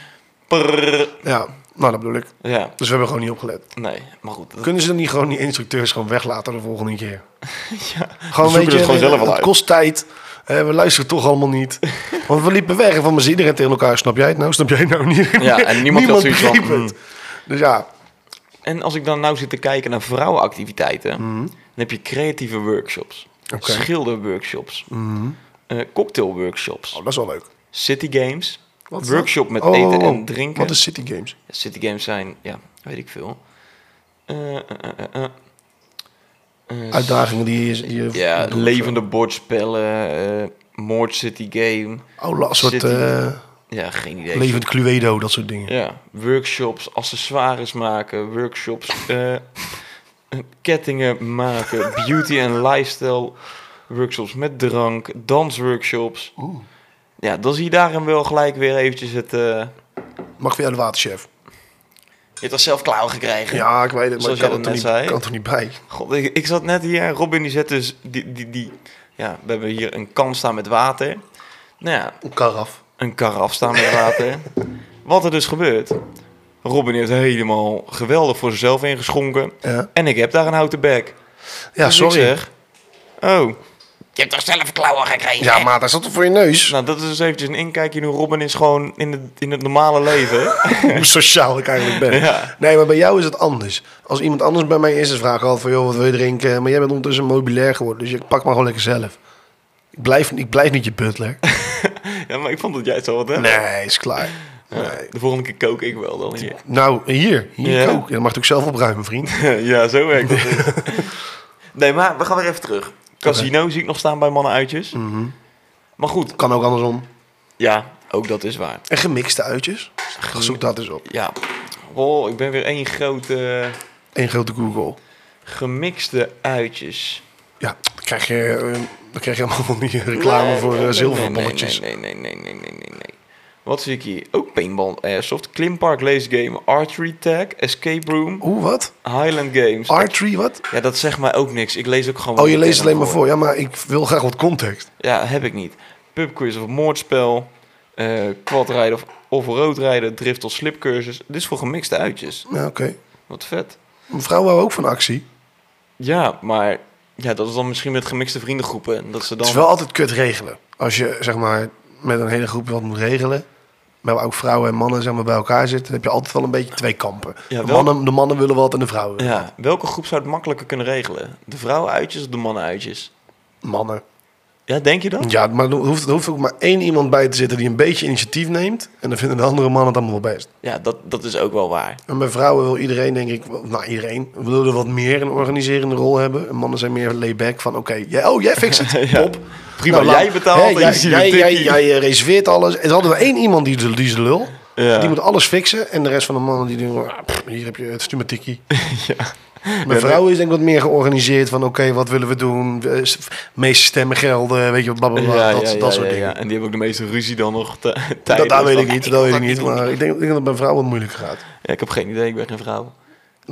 Speaker 2: Prrr.
Speaker 1: Ja, nou dat bedoel ik.
Speaker 2: Ja,
Speaker 1: Dus we hebben gewoon niet opgelet.
Speaker 2: nee, maar goed. dat-
Speaker 1: Kunnen ze dan niet gewoon die instructeurs gewoon weglaten de volgende keer?
Speaker 2: (laughs) ja.
Speaker 1: Gewoon
Speaker 2: We zoeken het gewoon zelf wel
Speaker 1: het
Speaker 2: uit.
Speaker 1: kost tijd. Eh, we luisteren toch allemaal
Speaker 2: (laughs)
Speaker 1: niet. Want we liepen weg en van me zin iedereen tegen elkaar. Snap jij het nou? Snap jij het nou niet?
Speaker 2: Ja, en niemand had zoiets van, hmm.
Speaker 1: begreep het. Dus ja,
Speaker 2: En als ik dan nou zit te kijken naar vrouwenactiviteiten, dan heb je creatieve workshops,
Speaker 1: Hmm. Oké.
Speaker 2: schilderworkshops,
Speaker 1: Mhm.
Speaker 2: eh, cocktailworkshops,
Speaker 1: oh, dat is wel leuk.
Speaker 2: city games,
Speaker 1: Wat is
Speaker 2: workshop met
Speaker 1: Oh,
Speaker 2: eten
Speaker 1: oh, oh.
Speaker 2: en drinken.
Speaker 1: Wat is City Games?
Speaker 2: Ja, city games zijn, ja, weet ik veel. Eh, eh, eh, eh, eh. Eh,
Speaker 1: Uitdagingen die je... die je
Speaker 2: Ja,
Speaker 1: doet of zo.
Speaker 2: levende bordspellen, eh Moord City Game.
Speaker 1: Oh, la- een soort
Speaker 2: City-
Speaker 1: eh,
Speaker 2: Ja, geen idee.
Speaker 1: levend Cluedo, dat soort dingen.
Speaker 2: Ja, workshops, accessoires maken, workshops, eh, (laughs) kettingen maken, beauty en lifestyle workshops met drank, dansworkshops.
Speaker 1: Oeh.
Speaker 2: Ja, dan zie je daarin wel gelijk weer eventjes het... eh,
Speaker 1: Mag weer aan de waterchef.
Speaker 2: je hebt dat zelf klaar gekregen.
Speaker 1: Ja, ik weet het, maar
Speaker 2: Zoals
Speaker 1: ik kan er,
Speaker 2: jij dat
Speaker 1: toch
Speaker 2: net
Speaker 1: niet,
Speaker 2: zei.
Speaker 1: kan er niet bij.
Speaker 2: God, ik, ik zat net hier en Robin die zet dus... Die, die, die, ja, we hebben hier een kan staan met water. Nou ja,
Speaker 1: Een karaf.
Speaker 2: een kar afstaan met water. (laughs) Wat er dus gebeurt. Robin heeft helemaal geweldig voor zichzelf ingeschonken.
Speaker 1: Ja,
Speaker 2: En ik heb daar een houten bek.
Speaker 1: ja
Speaker 2: Dus ik
Speaker 1: sorry.
Speaker 2: zeg, oh,
Speaker 3: Je hebt toch zelf klauwen gekregen?
Speaker 1: Ja, maar dat zat toch voor je neus?
Speaker 2: nou dat is dus eventjes een inkijkje in hoe Robin is gewoon in het, in het normale (laughs) leven.
Speaker 1: Hoe sociaal ik eigenlijk ben.
Speaker 2: Ja.
Speaker 1: Nee, maar bij jou is het anders. Als iemand anders bij mij eerst eens vraagt al van... joh, wat wil je drinken? Maar jij bent ondertussen mobilair geworden. Dus ik pak maar gewoon lekker zelf. Ik blijf, ik blijf niet je
Speaker 2: (laughs)
Speaker 1: butler.
Speaker 2: ja, maar ik vond dat jij het zo had, hè?
Speaker 1: Nee, is klaar.
Speaker 2: Ja,
Speaker 1: Nee.
Speaker 2: de volgende keer kook ik wel dan hier.
Speaker 1: Nou, hier. Hier
Speaker 2: Ja.
Speaker 1: ook. Dat mag ik ook zelf opruimen, vriend.
Speaker 2: (laughs) ja, zo werkt het. (laughs) nee, maar we gaan weer even terug. Mhm. Casino zie ik nog staan bij mannen uitjes. Maar goed,
Speaker 1: Kan ook andersom.
Speaker 2: ja, ook dat is waar.
Speaker 1: En gemixte uitjes. Zoek dat eens op.
Speaker 2: Ja, oh, ik ben weer één grote...
Speaker 1: Eén grote Google.
Speaker 2: Gemixte uitjes.
Speaker 1: Ja, dan krijg je, eh, dan krijg je allemaal van die reclame
Speaker 2: Nee,
Speaker 1: voor
Speaker 2: nee,
Speaker 1: eh,
Speaker 2: nee,
Speaker 1: zilverbonnetjes.
Speaker 2: Nee, nee, nee, nee, nee, nee, nee, nee. Wat zie ik hier? Ook paintball, airsoft, klimpark, laser game, archery tag, escape room,
Speaker 1: Hoe, wat?
Speaker 2: highland games.
Speaker 1: Archery, wat?
Speaker 2: ja, dat zegt mij ook niks. Ik lees ook gewoon...
Speaker 1: Oh,
Speaker 2: wat
Speaker 1: je
Speaker 2: ik
Speaker 1: leest het
Speaker 2: ken
Speaker 1: alleen maar
Speaker 2: en
Speaker 1: voor. Ja, maar ik wil graag wat context.
Speaker 2: hoor. Ja, heb ik niet. Pubquiz of moordspel, eh quadrijden of, of roodrijden, drift of slipcursus. Dit is voor gemixte uitjes.
Speaker 1: Ja, oké.
Speaker 2: Wat vet.
Speaker 1: Mevrouw wou ook van actie.
Speaker 2: Ja, maar ja, dat is dan misschien met gemixte vriendengroepen. Dat ze
Speaker 1: Het
Speaker 2: dan...
Speaker 1: is wel altijd kut regelen. Als je, zeg maar, met een hele groep wat moet regelen... maar waar ook vrouwen en mannen zeg maar, bij elkaar zitten... dan heb je altijd wel een beetje twee kampen.
Speaker 2: Ja,
Speaker 1: de,
Speaker 2: wel-
Speaker 1: mannen, de mannen willen wat en de vrouwen.
Speaker 2: Ja, welke groep zou het makkelijker kunnen regelen? De vrouwenuitjes of de mannenuitjes?
Speaker 1: Mannen.
Speaker 2: Ja, denk je dat?
Speaker 1: Ja, maar er hoeft, er hoeft ook maar één iemand bij te zitten die een beetje initiatief neemt. En dan vinden de andere mannen het allemaal wel best.
Speaker 2: Ja, dat, dat is ook wel waar.
Speaker 1: En bij vrouwen wil iedereen, denk ik, wel- nou iedereen, wil er wat meer een organiserende rol hebben. En mannen zijn meer layback van, oké, jij, oh jij fixt het,
Speaker 2: (laughs) Ja.
Speaker 1: pop.
Speaker 2: (laughs) Prima,
Speaker 1: Nou,
Speaker 2: jij
Speaker 1: laat-
Speaker 2: betaalt
Speaker 1: hè,
Speaker 2: en je
Speaker 1: jij,
Speaker 2: ziet
Speaker 1: jij,
Speaker 2: een
Speaker 1: jij,
Speaker 2: tikkie.
Speaker 1: jij, eh, reserveert alles. En ze hadden we één iemand die, de- die is de lul.
Speaker 2: Ja.
Speaker 1: Die moet alles fixen. En de rest van de mannen die doen, ah, pff, hier heb je het stuur maar tikkie.
Speaker 2: (laughs) ja.
Speaker 1: Mijn vrouw is denk ik wat meer georganiseerd van, oké, wat willen we doen? Eh, s- Meeste stemmen gelden, weet je, blablabla,
Speaker 2: Ja,
Speaker 1: dat,
Speaker 2: ja,
Speaker 1: dat
Speaker 2: ja,
Speaker 1: soort
Speaker 2: ja,
Speaker 1: dingen.
Speaker 2: ja. En die hebben ook de meeste ruzie dan nog te-
Speaker 1: Dat,
Speaker 2: tijdens.
Speaker 1: dat weet
Speaker 2: Van,
Speaker 1: ik niet,
Speaker 2: "Hey,
Speaker 1: dat weet ik
Speaker 2: fuck
Speaker 1: niet.
Speaker 2: dit
Speaker 1: Maar ik denk, ik denk dat het bij vrouwen moeilijk gaat.
Speaker 2: Ja, ik heb geen idee, ik ben geen vrouw.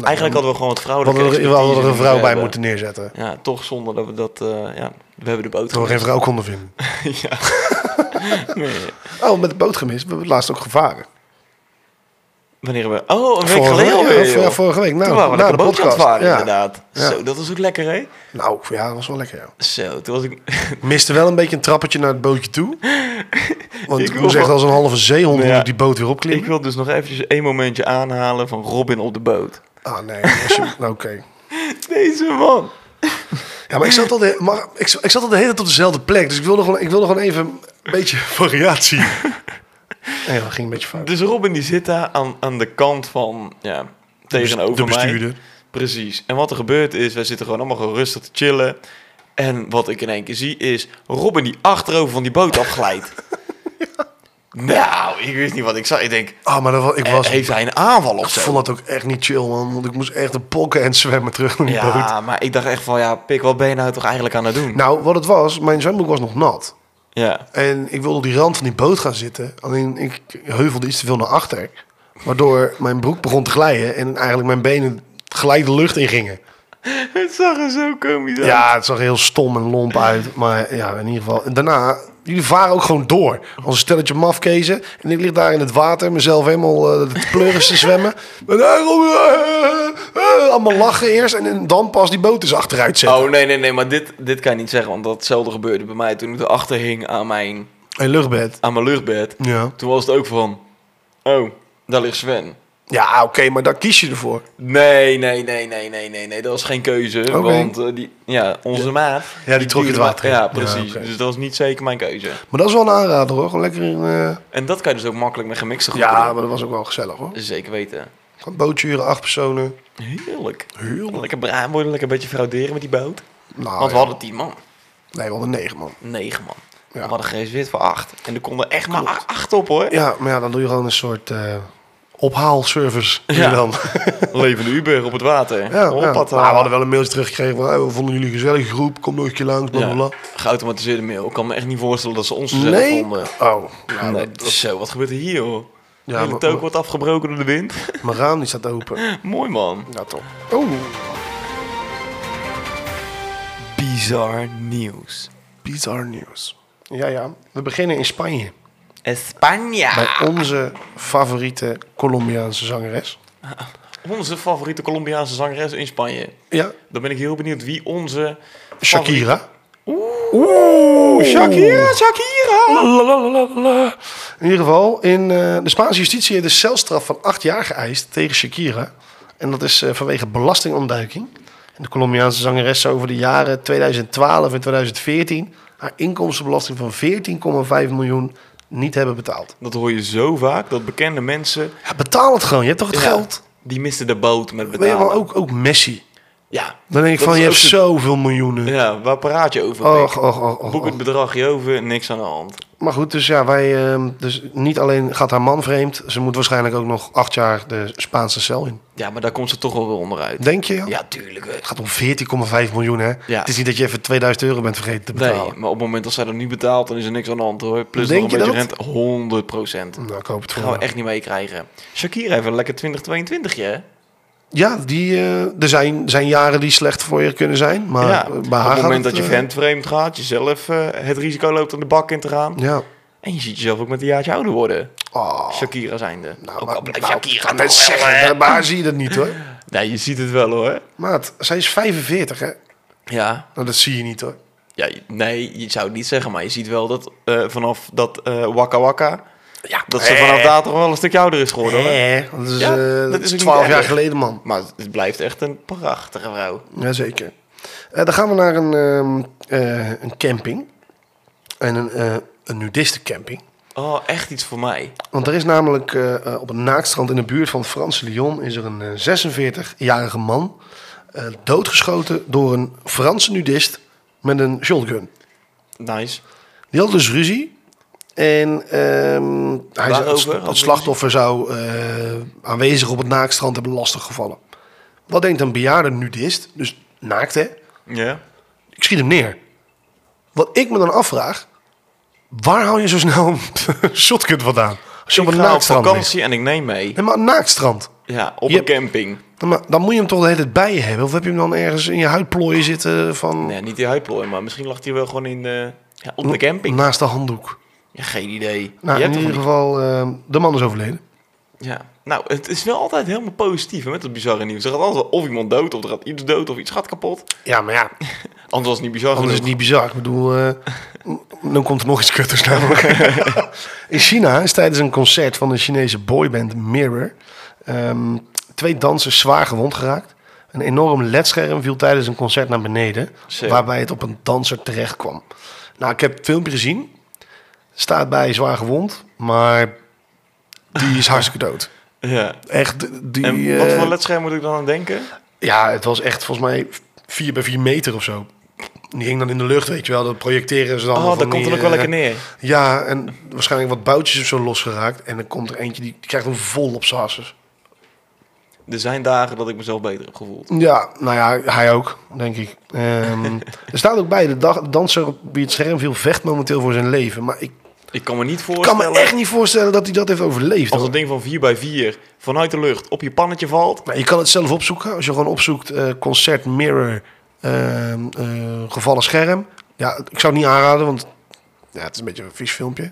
Speaker 2: Eigenlijk hadden we gewoon
Speaker 1: We
Speaker 2: wat vrouwelijke
Speaker 1: Nou, hadden er, we
Speaker 2: expertise
Speaker 1: hadden er een
Speaker 2: moeten
Speaker 1: vrouw bij
Speaker 2: hebben.
Speaker 1: moeten neerzetten.
Speaker 2: Ja, toch zonder dat we dat... eh, ja, we hebben de boot
Speaker 1: Dat we geen
Speaker 2: gemist.
Speaker 1: vrouw konden vinden.
Speaker 2: ja. (laughs) Nee.
Speaker 1: (laughs) Oh, met de boot gemist. We hebben het laatst ook gevaren.
Speaker 2: Wanneer hebben we... Oh, een week
Speaker 1: Vorige
Speaker 2: geleden
Speaker 1: week,
Speaker 2: alweer,
Speaker 1: ja,
Speaker 2: joh.
Speaker 1: ja, vorige week. Nou,
Speaker 2: toen waren we
Speaker 1: na
Speaker 2: lekker
Speaker 1: de
Speaker 2: bootje aan het
Speaker 1: podcast.
Speaker 2: varen,
Speaker 1: Ja.
Speaker 2: inderdaad.
Speaker 1: Ja.
Speaker 2: Zo, dat was ook lekker, hè?
Speaker 1: Nou, ja, dat was wel lekker, ja.
Speaker 2: Zo, toen was ik... (laughs)
Speaker 1: Miste wel een beetje een trappetje naar het bootje toe. Want
Speaker 2: Ik
Speaker 1: ik
Speaker 2: wil
Speaker 1: moest echt
Speaker 2: wel-
Speaker 1: als een halve zeehond
Speaker 2: Ja.
Speaker 1: moest ik die boot weer
Speaker 2: ik
Speaker 1: opklimmen.
Speaker 2: wil dus nog eventjes één momentje aanhalen van Robin op de boot.
Speaker 1: Ah, nee. als je- nou, Oké.
Speaker 2: Deze man.
Speaker 1: Ja, maar ik zat, al de, maar ik, z- ik zat al de hele tijd op dezelfde plek. Dus ik wilde gewoon, ik wilde gewoon even een beetje (laughs) variatie. Nee, dat ging een beetje fout.
Speaker 2: Dus Robin die zit daar aan, aan de kant van... Ja, tegenover
Speaker 1: de
Speaker 2: mij.
Speaker 1: bestuurder.
Speaker 2: Precies. En wat er gebeurt is, wij zitten gewoon allemaal gewoon rustig te chillen. En wat ik in één keer zie is Robin die achterover van die boot afglijdt. Nou, ik wist niet wat ik zag. Ik denk,
Speaker 1: Ah, maar dat, wa- ik
Speaker 2: eh,
Speaker 1: was...
Speaker 2: heeft hij een aanval
Speaker 1: Ik
Speaker 2: of zo?
Speaker 1: vond dat ook echt niet chill, man. Want ik moest echt de pokken en zwemmen terug naar die boot.
Speaker 2: Ja, maar ik dacht echt van, ja, pik, wat ben je nou toch eigenlijk aan het doen?
Speaker 1: Nou, wat het was, mijn zwembroek was nog nat.
Speaker 2: Ja,
Speaker 1: En ik wilde op die rand van die boot gaan zitten. Alleen ik heuvelde iets te veel naar achter. Waardoor mijn broek begon te glijden. En eigenlijk mijn benen gelijk de lucht in gingen.
Speaker 2: het zag er zo komisch uit.
Speaker 1: Ja, het zag er heel stom en lomp uit. Maar ja, in ieder geval. En daarna, jullie varen ook gewoon door. Als een stelletje mafkezen. En ik lig daar in het water, mezelf helemaal eh, de pleuris te zwemmen. (laughs) En, eh, Robin, eh, eh, eh, allemaal lachen eerst. En dan pas die boot is achteruit zetten.
Speaker 2: Oh, nee, nee, nee, maar dit, dit kan je niet zeggen, want datzelfde gebeurde bij mij toen ik erachter hing aan mijn,
Speaker 1: Een luchtbed.
Speaker 2: aan mijn luchtbed.
Speaker 1: Oh. Ja.
Speaker 2: Toen was het ook van, oh, daar ligt Sven.
Speaker 1: Ja, oké, maar daar kies je ervoor.
Speaker 2: Nee, nee, nee, nee, nee, nee, nee. Dat was geen keuze.
Speaker 1: Oké.
Speaker 2: Want eh, die, ja, onze maat.
Speaker 1: die trok
Speaker 2: duwde
Speaker 1: het water
Speaker 2: maar- Ja,
Speaker 1: in.
Speaker 2: precies.
Speaker 1: Ja, oké.
Speaker 2: Dus dat was niet zeker mijn keuze.
Speaker 1: Maar dat is wel een aanrader hoor. Gewoon lekker in. eh,
Speaker 2: En dat kan je dus ook makkelijk met gemixte groepen
Speaker 1: Ja,
Speaker 2: doen.
Speaker 1: maar dat was ook wel gezellig hoor.
Speaker 2: Zeker weten.
Speaker 1: Gewoon bootje huren, acht personen.
Speaker 2: Heerlijk.
Speaker 1: Heel.
Speaker 2: Lekker braam worden, lekker een beetje frauderen met die boot.
Speaker 1: Nou,
Speaker 2: Want
Speaker 1: ja.
Speaker 2: we hadden tien man.
Speaker 1: Nee, we hadden negen man.
Speaker 2: Negen man.
Speaker 1: Ja.
Speaker 2: We hadden gereserveerd voor acht. En er konden echt maar a- acht op hoor.
Speaker 1: Ja, maar ja, dan doe je gewoon een soort eh ophaalservice. doe je
Speaker 2: Ja. (laughs)
Speaker 1: Dan.
Speaker 2: (laughs) Levende Uber op het water.
Speaker 1: ja, ja. Maar
Speaker 2: Hoppata.
Speaker 1: we hadden wel een mailtje teruggekregen van... hey, we vonden jullie een gezellige groep, kom nog een keer langs,
Speaker 2: Ja,
Speaker 1: blablabla.
Speaker 2: geautomatiseerde mail. Ik kan me echt niet voorstellen dat ze ons zelf
Speaker 1: Nee?
Speaker 2: vonden.
Speaker 1: Oh, nou,
Speaker 2: Nee,
Speaker 1: dat-
Speaker 2: Zo, wat gebeurt er hier hoor?
Speaker 1: Ja,
Speaker 2: Ja, hele
Speaker 1: maar-
Speaker 2: token wordt afgebroken door de wind. (laughs)
Speaker 1: mijn raam die staat open.
Speaker 2: Mooi man.
Speaker 1: Ja, toch. Oh,
Speaker 2: Bizar nieuws.
Speaker 1: bizar nieuws. Ja, ja. We beginnen in Spanje.
Speaker 2: España.
Speaker 1: Bij onze favoriete Colombiaanse zangeres.
Speaker 2: Onze favoriete Colombiaanse zangeres in Spanje.
Speaker 1: Ja,
Speaker 2: Dan ben ik heel benieuwd wie onze... favoriete-
Speaker 1: Shakira. Oeh,
Speaker 2: Shakira, Shakira.
Speaker 1: In ieder geval, in, eh, de Spaanse justitie heeft een celstraf van acht jaar geëist tegen Shakira. En dat is eh, vanwege belastingontduiking. En de Colombiaanse zangeres zou over de jaren 2012 en 2014 haar inkomstenbelasting van 14,5 miljoen niet hebben betaald.
Speaker 2: Dat hoor je zo vaak, dat bekende mensen...
Speaker 1: Ja, betaal het gewoon, je hebt toch het geld?
Speaker 2: Ja, die misten de boot met
Speaker 1: Weet je
Speaker 2: betalen.
Speaker 1: wel, ook, ook Messi.
Speaker 2: Ja.
Speaker 1: Dan denk ik
Speaker 2: Dat
Speaker 1: van,
Speaker 2: is
Speaker 1: je
Speaker 2: ook
Speaker 1: hebt
Speaker 2: zo-
Speaker 1: zoveel miljoenen.
Speaker 2: Ja, waar praat je over?
Speaker 1: Och,
Speaker 2: Pik?
Speaker 1: och, och, och,
Speaker 2: Boek
Speaker 1: och.
Speaker 2: het bedragje over, niks aan de hand.
Speaker 1: Maar goed, dus ja, wij, ehm, dus niet alleen gaat haar man vreemd, ze moet waarschijnlijk ook nog acht jaar de Spaanse cel in.
Speaker 2: Ja, maar daar komt ze toch wel weer onderuit.
Speaker 1: Denk je?
Speaker 2: Ja, tuurlijk. hè.
Speaker 1: Het gaat om 14,5 miljoen, hè?
Speaker 2: Ja.
Speaker 1: Het is niet dat je even 2000 euro bent vergeten te
Speaker 2: Nee,
Speaker 1: betalen.
Speaker 2: maar op het moment dat zij dat niet betaalt, dan is er niks aan de hand hoor. Plus
Speaker 1: Denk
Speaker 2: nog een
Speaker 1: je
Speaker 2: beetje rente, 100 procent.
Speaker 1: Nou, ik hoop het
Speaker 2: gaan
Speaker 1: voor
Speaker 2: we
Speaker 1: haar.
Speaker 2: echt niet meekrijgen. Shakira heeft een lekker 2022 je.
Speaker 1: Ja, die, eh, er zijn, zijn jaren die slecht voor je kunnen zijn. Maar
Speaker 2: ja,
Speaker 1: eh,
Speaker 2: op
Speaker 1: bij
Speaker 2: het
Speaker 1: haar gaat
Speaker 2: moment
Speaker 1: het,
Speaker 2: dat je
Speaker 1: eh,
Speaker 2: vent vreemd gaat, jezelf eh, het risico loopt om de bak in te gaan.
Speaker 1: Ja.
Speaker 2: En je ziet jezelf ook met een jaartje ouder worden.
Speaker 1: Oh,
Speaker 2: Shakira zijnde. Nou,
Speaker 1: nou,
Speaker 2: ook
Speaker 1: maar-
Speaker 2: al blijft
Speaker 1: nou,
Speaker 2: Shakira
Speaker 1: dat
Speaker 2: nog wel,
Speaker 1: zeggen,
Speaker 2: hè.
Speaker 1: bij haar zie je dat niet, hoor.
Speaker 2: Nee, je ziet het wel hoor.
Speaker 1: Maat, zij is 45, hè?
Speaker 2: Ja,
Speaker 1: Nou, dat zie je niet, hoor.
Speaker 2: ja je- nee, je zou het niet zeggen, maar je ziet wel dat eh, vanaf dat eh Waka Waka,
Speaker 1: Ja,
Speaker 2: dat ze vanaf daar toch wel een stukje ouder is geworden hoor.
Speaker 1: Nee, dat is,
Speaker 2: Ja,
Speaker 1: eh,
Speaker 2: dat is ook niet
Speaker 1: 12 jaar
Speaker 2: erg.
Speaker 1: geleden, man.
Speaker 2: Maar het blijft echt een prachtige vrouw.
Speaker 1: Jazeker. Eh dan gaan we naar een, ehm, eh, een camping. en een, eh een nudistencamping.
Speaker 2: Oh, echt iets voor mij.
Speaker 1: Want er is namelijk eh, eh, op het naaktstrand in de buurt van het Franse Lyon... is er een eh, 46-jarige man eh, doodgeschoten door een Franse nudist met een shotgun.
Speaker 2: Nice.
Speaker 1: Die had dus ruzie. En ehm, hij zou,
Speaker 2: Waarover?
Speaker 1: het,
Speaker 2: Had
Speaker 1: slachtoffer zou eh, aanwezig op het naaktstrand hebben lastiggevallen. Wat denkt een bejaarde nudist, dus naakt hè?
Speaker 2: Ja.
Speaker 1: Ik schiet hem neer. Wat ik me dan afvraag, waar haal je zo snel een (laughs) shotgun vandaan? Als je op
Speaker 2: ik
Speaker 1: een
Speaker 2: ga op
Speaker 1: naaktstrand ligt.
Speaker 2: vakantie en ik neem mee.
Speaker 1: Nee, maar een naaktstrand.
Speaker 2: Ja, op
Speaker 1: Yep.
Speaker 2: een camping.
Speaker 1: Dan, ma- dan moet je hem toch de hele tijd bij je hebben? Of heb je hem dan ergens in je huidplooien zitten van...
Speaker 2: Nee, niet die huidplooi, maar misschien lag hij wel gewoon in de... Ja, op de camping.
Speaker 1: Naast de handdoek.
Speaker 2: Ja, geen idee.
Speaker 1: Nou,
Speaker 2: Je
Speaker 1: in
Speaker 2: hebt toch
Speaker 1: ieder
Speaker 2: niet-
Speaker 1: geval, ehm, de man is overleden.
Speaker 2: Ja. Nou, het is wel altijd helemaal positief hè, met dat bizarre nieuws. Er gaat altijd wel of iemand dood, of er gaat iets dood, of iets gaat kapot.
Speaker 1: Ja, maar ja,
Speaker 2: Anders was het niet bizar
Speaker 1: Anders Oh, is het
Speaker 2: genoeg.
Speaker 1: niet bizar. Ik bedoel, eh, m- dan komt er nog iets kutters
Speaker 2: (laughs)
Speaker 1: namelijk. In China is tijdens een concert van de Chinese boyband Mirror... ehm, twee dansers zwaar gewond geraakt. Een enorm ledscherm viel tijdens een concert naar beneden...
Speaker 2: Zo.
Speaker 1: waarbij het op een danser terecht kwam. Nou, ik heb het filmpje gezien. Staat bij zwaar gewond, maar die
Speaker 2: (laughs)
Speaker 1: is hartstikke dood.
Speaker 2: Ja.
Speaker 1: Echt, die...
Speaker 2: En wat
Speaker 1: eh,
Speaker 2: voor ledscherm moet ik dan aan denken?
Speaker 1: ja, het was echt volgens mij 4 bij 4 meter of zo. Die hing dan in de lucht, weet je wel. Dat projecteren ze dan.
Speaker 2: Oh,
Speaker 1: van
Speaker 2: daar komt
Speaker 1: die,
Speaker 2: er ook wel
Speaker 1: eh,
Speaker 2: lekker neer.
Speaker 1: Ja, en waarschijnlijk wat boutjes of zo losgeraakt. En dan komt er eentje, die, die krijgt hem vol op zijn hasses.
Speaker 2: Er zijn dagen dat ik mezelf beter heb gevoeld.
Speaker 1: Ja, nou ja, hij ook, denk ik. Ehm, (laughs) er staat ook bij, de, dag, de danser op wie het scherm viel vecht momenteel voor zijn leven. Maar ik
Speaker 2: Ik kan me niet
Speaker 1: kan
Speaker 2: voorstellen...
Speaker 1: me echt niet voorstellen dat hij dat heeft overleefd.
Speaker 2: Als
Speaker 1: hoor.
Speaker 2: een ding van 4 bij 4 vanuit de lucht op je pannetje valt.
Speaker 1: Nou, je kan het zelf opzoeken. Als je gewoon opzoekt eh, concert mirror ehm, eh, gevallen scherm. Ja, ik zou het niet aanraden, want ja, het is een beetje een vies filmpje.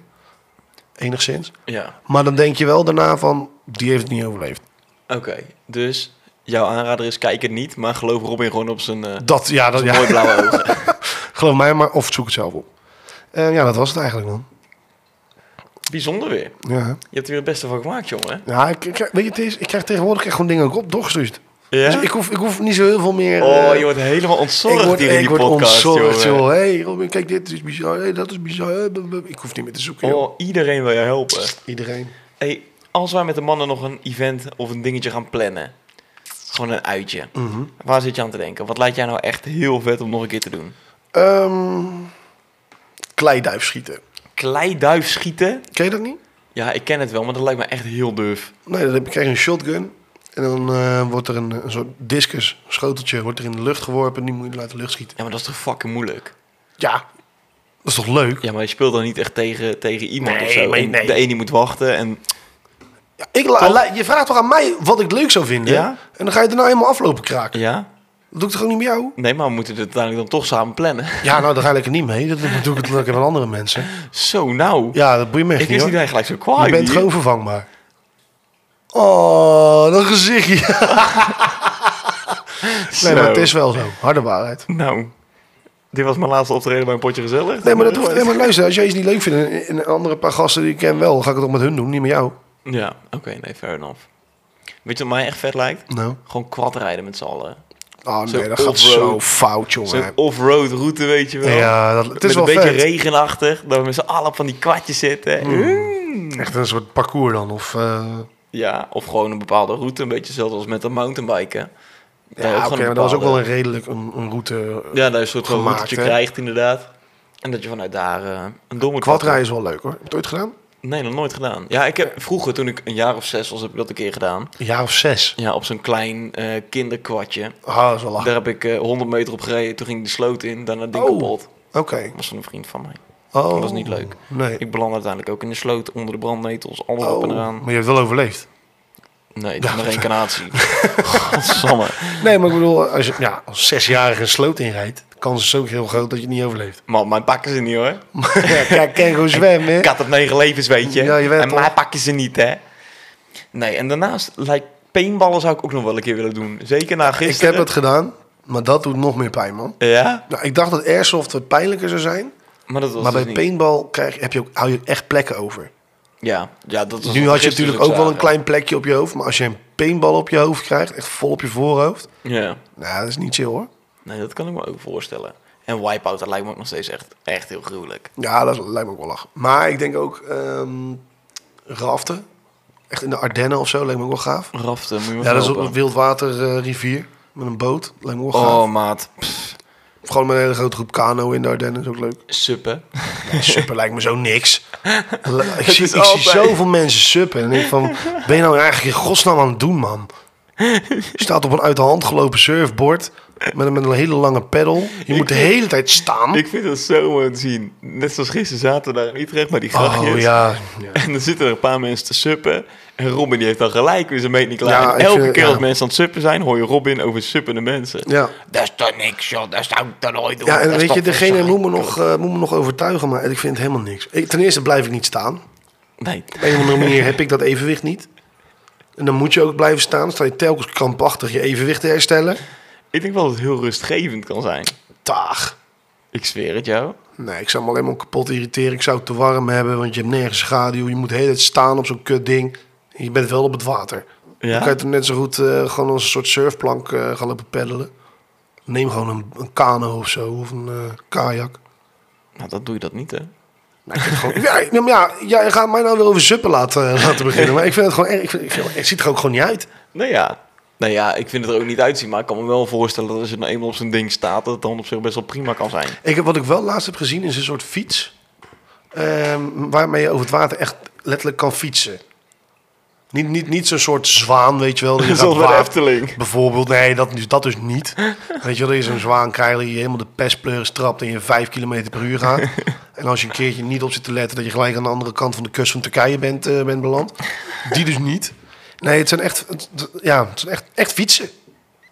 Speaker 1: Enigszins.
Speaker 2: Ja.
Speaker 1: Maar dan denk je wel daarna van, die heeft het niet overleefd.
Speaker 2: Oké, dus jouw aanrader is kijk het niet, maar geloof Robin gewoon op zijn, eh,
Speaker 1: Dat, ja, dat,
Speaker 2: zijn
Speaker 1: ja (laughs)
Speaker 2: mooi blauwe ogen.
Speaker 1: geloof mij maar, of zoek het zelf op. Eh, ja, dat was het eigenlijk dan.
Speaker 2: (laughs) Bijzonder weer.
Speaker 1: Ja,
Speaker 2: Je hebt er weer het beste van gemaakt, jongen.
Speaker 1: ja ik, ik- weet je, het is, ik krijg tegenwoordig echt gewoon dingen ook op, doorgestuurd.
Speaker 2: Ja?
Speaker 1: Dus ik hoef, ik hoef niet zo heel veel meer...
Speaker 2: oh,
Speaker 1: eh,
Speaker 2: je wordt helemaal ontzorgd
Speaker 1: ik word,
Speaker 2: hier in
Speaker 1: ik
Speaker 2: die
Speaker 1: word
Speaker 2: podcast,
Speaker 1: ontzorgd,
Speaker 2: jongen.
Speaker 1: joh. hey, Robin, kijk, dit is bizar. Hey, dat is bizar. eh, blub, blub. Ik hoef niet meer te zoeken, joh.
Speaker 2: Oh, iedereen wil je helpen.
Speaker 1: Iedereen.
Speaker 2: hey, als wij met de mannen nog een event of een dingetje gaan plannen. Gewoon een uitje. Waar zit je aan te denken? Wat lijkt jij nou echt heel vet om nog een keer te doen?
Speaker 1: Ehm, kleiduif schieten.
Speaker 2: Kleiduif schieten?
Speaker 1: Ken je dat niet?
Speaker 2: Ja, ik ken het wel, maar dat lijkt me echt heel duf.
Speaker 1: Nee, dan heb je- krijg je een shotgun. En dan eh, wordt er een, een soort discus, een schoteltje, wordt er in de lucht geworpen. En die moet je uit de lucht schieten.
Speaker 2: Ja, maar dat is toch fucking moeilijk?
Speaker 1: Ja, dat is toch leuk?
Speaker 2: Ja, maar je speelt dan niet echt tegen, tegen iemand
Speaker 1: Nee,
Speaker 2: of zo.
Speaker 1: maar
Speaker 2: En
Speaker 1: nee.
Speaker 2: De ene die moet wachten en...
Speaker 1: Ja, ik la-
Speaker 2: Toch?
Speaker 1: la- je vraagt toch aan mij wat ik leuk zou vinden?
Speaker 2: Ja?
Speaker 1: En dan ga je daarna helemaal aflopen kraken.
Speaker 2: Ja?
Speaker 1: Dat doe ik toch ook niet met jou?
Speaker 2: Nee, maar we moeten het uiteindelijk dan toch samen plannen. (laughs)
Speaker 1: Ja, nou, daar ga ik lekker niet mee. Dat doe ik het lekker met andere mensen.
Speaker 2: Zo, nou.
Speaker 1: Ja, dat boeit me echt
Speaker 2: ik wist niet
Speaker 1: hoor.
Speaker 2: dat hij gelijk zo kwaai
Speaker 1: je bent
Speaker 2: werd.
Speaker 1: gewoon vervangbaar. Oh, dat gezichtje. Nee, maar
Speaker 2: Zo.
Speaker 1: het is wel zo. Harde waarheid.
Speaker 2: Nou, dit was mijn laatste optreden bij een potje gezellig.
Speaker 1: Nee, maar, dat hoeft, nee, maar luister, als jij iets niet leuk vindt en- en een andere paar gasten die ik ken wel, ga ik het ook met hun doen, niet met jou.
Speaker 2: Ja, oké, nee, fair enough. Weet je wat mij echt vet lijkt?
Speaker 1: Nou.
Speaker 2: Gewoon quadrijden met z'n allen.
Speaker 1: Oh
Speaker 2: Zo'n
Speaker 1: nee, dat gaat
Speaker 2: off-road.
Speaker 1: zo fout,
Speaker 2: Zo'n
Speaker 1: jongen.
Speaker 2: off-road route, weet je wel.
Speaker 1: Ja, dat, het is
Speaker 2: met
Speaker 1: wel
Speaker 2: een beetje
Speaker 1: vet.
Speaker 2: regenachtig, dat we met z'n allen op van die kwartjes zitten.
Speaker 1: Hmm. Echt een soort parcours dan, of... eh,
Speaker 2: Ja, of gewoon een bepaalde route, een beetje zelfs als met een mountainbiken. Daar
Speaker 1: ja,
Speaker 2: ook
Speaker 1: oké,
Speaker 2: gewoon een
Speaker 1: maar dat was ook wel
Speaker 2: bepaalde-
Speaker 1: een redelijk een, een route.
Speaker 2: Ja, dat je een soort van
Speaker 1: gemaakt,
Speaker 2: routetje
Speaker 1: hè?
Speaker 2: krijgt, inderdaad. En dat je vanuit daar eh, een domme
Speaker 1: Quadrijden is wel leuk, hoor. Heb je het ooit gedaan?
Speaker 2: Nee, nog nooit gedaan. Ja, ik heb vroeger, toen ik een jaar of zes was, heb ik dat een keer gedaan.
Speaker 1: Een jaar of zes.
Speaker 2: Ja, op zo'n klein eh kinderkwartje.
Speaker 1: Ah, dat is wel lachen.
Speaker 2: Daar heb ik eh 100 meter op gereden. Toen ging ik de sloot in, daarna het ding
Speaker 1: Oh.
Speaker 2: kapot.
Speaker 1: Oké.
Speaker 2: Dat was van een vriend van mij.
Speaker 1: Oh.
Speaker 2: Dat was niet leuk.
Speaker 1: Nee.
Speaker 2: Ik belandde uiteindelijk ook in de sloot, onder de brandnetels, alles
Speaker 1: Oh,
Speaker 2: op en
Speaker 1: maar
Speaker 2: eraan.
Speaker 1: je hebt wel overleefd.
Speaker 2: Nee, het is maar reïncarnatie.
Speaker 1: (laughs)
Speaker 2: Godsamme.
Speaker 1: Nee, maar ik bedoel, als je ja, als zesjarige een sloot inrijdt, de kans is ook heel groot dat je het niet overleeft. (laughs)
Speaker 2: Man, mijn pakken ze niet hoor.
Speaker 1: ja, kijk, kijk hoe zwemmen, hè.
Speaker 2: Ik had het negen levens, weet je.
Speaker 1: Ja, je weet
Speaker 2: en
Speaker 1: toch.
Speaker 2: mij pakken ze niet, hè. Nee, en daarnaast, lijkt paintballen zou ik ook nog wel een keer willen doen. Zeker na
Speaker 1: Ik heb
Speaker 2: gisteren.
Speaker 1: het gedaan, maar dat doet nog meer pijn, man.
Speaker 2: Ja,
Speaker 1: Nou, ik dacht dat airsoft wat pijnlijker zou zijn.
Speaker 2: maar dat was
Speaker 1: maar
Speaker 2: dus
Speaker 1: bij
Speaker 2: niet.
Speaker 1: paintball krijg, heb je ook, hou je echt plekken over.
Speaker 2: Ja, ja dat was
Speaker 1: Nu
Speaker 2: wat
Speaker 1: had je
Speaker 2: gisteren
Speaker 1: natuurlijk ook wel een
Speaker 2: zagen.
Speaker 1: klein plekje op je hoofd. Maar als je een paintball op je hoofd krijgt, echt vol op je voorhoofd.
Speaker 2: Ja,
Speaker 1: Nou, dat is niet chill hoor.
Speaker 2: nee, dat kan ik me ook voorstellen. En Wipeout, dat lijkt me ook nog steeds echt, echt heel gruwelijk.
Speaker 1: Ja, dat lijkt me ook wel lachen. Maar ik denk ook ehm raften. Echt in de Ardennen of zo, lijkt me ook wel gaaf.
Speaker 2: Raften, moet je maar
Speaker 1: Ja, dat is op
Speaker 2: helpen.
Speaker 1: een wildwaterrivier rivier met een boot. Lijkt me ook wel gaaf.
Speaker 2: Oh, maat. Pff,
Speaker 1: Of gewoon met een hele grote groep kano in de Ardennen, is ook leuk.
Speaker 2: suppen.
Speaker 1: Ja, suppen lijkt me zo
Speaker 2: (laughs)
Speaker 1: niks. Ik, zie,
Speaker 2: is
Speaker 1: ik zie
Speaker 2: altijd-
Speaker 1: zoveel mensen suppen. En ik denk van, ben je nou eigenlijk in godsnaam aan het doen, man? Je staat op een uit de hand gelopen surfboard met een, met een hele lange pedal. Je moet de hele tijd staan.
Speaker 2: Ik vind dat zo mooi te zien. Net zoals gisteren zaten we daar in Utrecht bij die grachtjes.
Speaker 1: oh ja.
Speaker 2: En dan zitten er een paar mensen te suppen. En Robin die heeft dan gelijk weer zijn meet niet klaar.
Speaker 1: Ja,
Speaker 2: En
Speaker 1: ik
Speaker 2: elke
Speaker 1: vind-
Speaker 2: keer
Speaker 1: ja.
Speaker 2: als mensen aan het suppen zijn, hoor je Robin over suppende mensen.
Speaker 1: ja.
Speaker 3: Dat is toch niks, joh. Dat zou ik toch nooit doen.
Speaker 1: Ja,
Speaker 3: Dat
Speaker 1: en
Speaker 3: is
Speaker 1: weet je,
Speaker 3: toch
Speaker 1: degene moet
Speaker 3: verschrikkelijk.
Speaker 1: me, nog, eh, moet me nog overtuigen, maar ik vind het helemaal niks. Ik, ten eerste blijf ik niet staan. Op
Speaker 2: Nee.
Speaker 1: een of andere manier heb ik dat evenwicht niet. En dan moet je ook blijven staan. Dan sta je telkens krampachtig je evenwicht te herstellen.
Speaker 2: Ik denk wel dat het heel rustgevend kan zijn.
Speaker 1: Taag.
Speaker 2: Ik zweer het jou.
Speaker 1: Nee, ik zou me alleen maar kapot irriteren. Ik zou het te warm hebben, want je hebt nergens schaduw. Je moet de hele tijd staan op zo'n kut ding. En je bent wel op het water. Dan kan je
Speaker 2: Ja?
Speaker 1: toch net zo goed eh, gewoon als een soort surfplank eh, gaan lopen peddelen. Neem gewoon een, een kano of zo, of een eh, kajak.
Speaker 2: Nou, dat doe je dat niet, hè?
Speaker 1: Nou, ik vind het gewoon, ja, ik- nou ja, jij gaat mij nou weer over suppen laten, laten beginnen. Maar ik vind het gewoon erg. Ik vind, ik vind- het ziet er ook gewoon niet uit.
Speaker 2: Nou ja. Nou ja, ik vind het er ook niet uitzien. Maar ik kan me wel voorstellen dat als je nou eenmaal op zijn ding staat... dat het dan op zich best wel prima kan
Speaker 1: (laughs)
Speaker 2: zijn.
Speaker 1: Ik heb, wat ik wel laatst heb gezien is een soort fiets. ehm, waarmee je over het water echt letterlijk kan fietsen. Niet, niet, niet zo'n soort zwaan, weet je wel.
Speaker 2: (laughs)
Speaker 1: die je
Speaker 2: Zoals
Speaker 1: gaat
Speaker 2: bij de
Speaker 1: wa-
Speaker 2: Efteling.
Speaker 1: Bijvoorbeeld, nee, dat, dus- dat dus niet. Weet je wel, dat je zo'n zwaan krijgt, dat je helemaal de pestpleuris trapt en je vijf kilometer per uur
Speaker 2: (laughs)
Speaker 1: gaat. En als je een keertje niet op zit te letten, dat je gelijk aan de andere kant van de kust van Turkije bent, eh, bent beland. Die dus niet. Nee, het zijn echt, het- het- ja, het zijn echt, echt fietsen.
Speaker 2: Nou,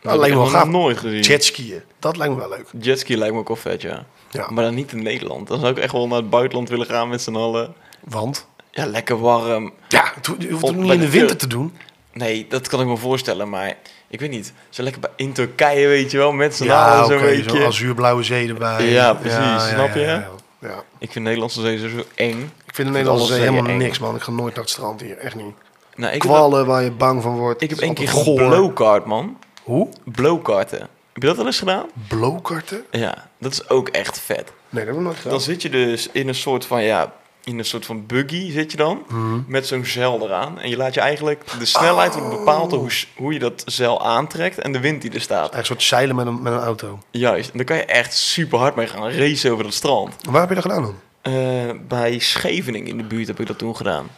Speaker 2: Dat
Speaker 1: Alleen
Speaker 2: heb
Speaker 1: wel
Speaker 2: ik nog
Speaker 1: gaaf.
Speaker 2: nooit gezien.
Speaker 1: Jetskiën, dat lijkt me wel leuk.
Speaker 2: Jetski lijkt me ook wel vet, ja.
Speaker 1: Ja.
Speaker 2: Maar dan niet in Nederland. Dan zou ik echt wel naar het buitenland willen gaan met z'n allen.
Speaker 1: Want,
Speaker 2: Ja, lekker warm.
Speaker 1: ja, het ho- je hoeft
Speaker 2: Op
Speaker 1: het ook niet
Speaker 2: bij
Speaker 1: in
Speaker 2: de
Speaker 1: de winter
Speaker 2: kust.
Speaker 1: te doen.
Speaker 2: Nee, dat kan ik me voorstellen, maar ik weet niet. Zo lekker bij- in Turkije, weet je wel, met z'n
Speaker 1: Ja,
Speaker 2: allen
Speaker 1: oké,
Speaker 2: zo'n
Speaker 1: zo'n
Speaker 2: beetje.
Speaker 1: azuurblauwe zee erbij.
Speaker 2: Ja, precies, snap je?
Speaker 1: Ja, ja, ja.
Speaker 2: Ik vind Nederlandse zee zo eng.
Speaker 1: Ik vind de Nederlandse
Speaker 2: alles
Speaker 1: zee
Speaker 2: zeeën
Speaker 1: helemaal
Speaker 2: eng.
Speaker 1: niks, man. Ik ga nooit naar het strand hier, echt niet.
Speaker 2: Nou, ik, heb, wel-
Speaker 1: kwallen waar je bang van wordt.
Speaker 2: ik
Speaker 1: Het
Speaker 2: heb
Speaker 1: is
Speaker 2: één keer
Speaker 1: altijd goor.
Speaker 2: geblowkart, man.
Speaker 1: Hoe?
Speaker 2: Blowkarten. Heb je dat wel eens gedaan?
Speaker 1: Blowkarten?
Speaker 2: Ja, dat is ook echt vet.
Speaker 1: Nee, dat heb ik nooit gedaan.
Speaker 2: Dan zit je dus in een soort van, ja, in een soort van buggy zit je dan. Met zo'n zeil eraan. En je laat je eigenlijk, de snelheid wordt bepaald door hoe, s- hoe je dat zeil aantrekt en de wind die er staat.
Speaker 1: Echt een soort zeilen met een, met een auto.
Speaker 2: Juist, en dan kan je echt super hard mee gaan racen over dat strand.
Speaker 1: Waar heb je dat gedaan dan?
Speaker 2: Eh, bij Scheveningen in de buurt heb ik dat toen gedaan.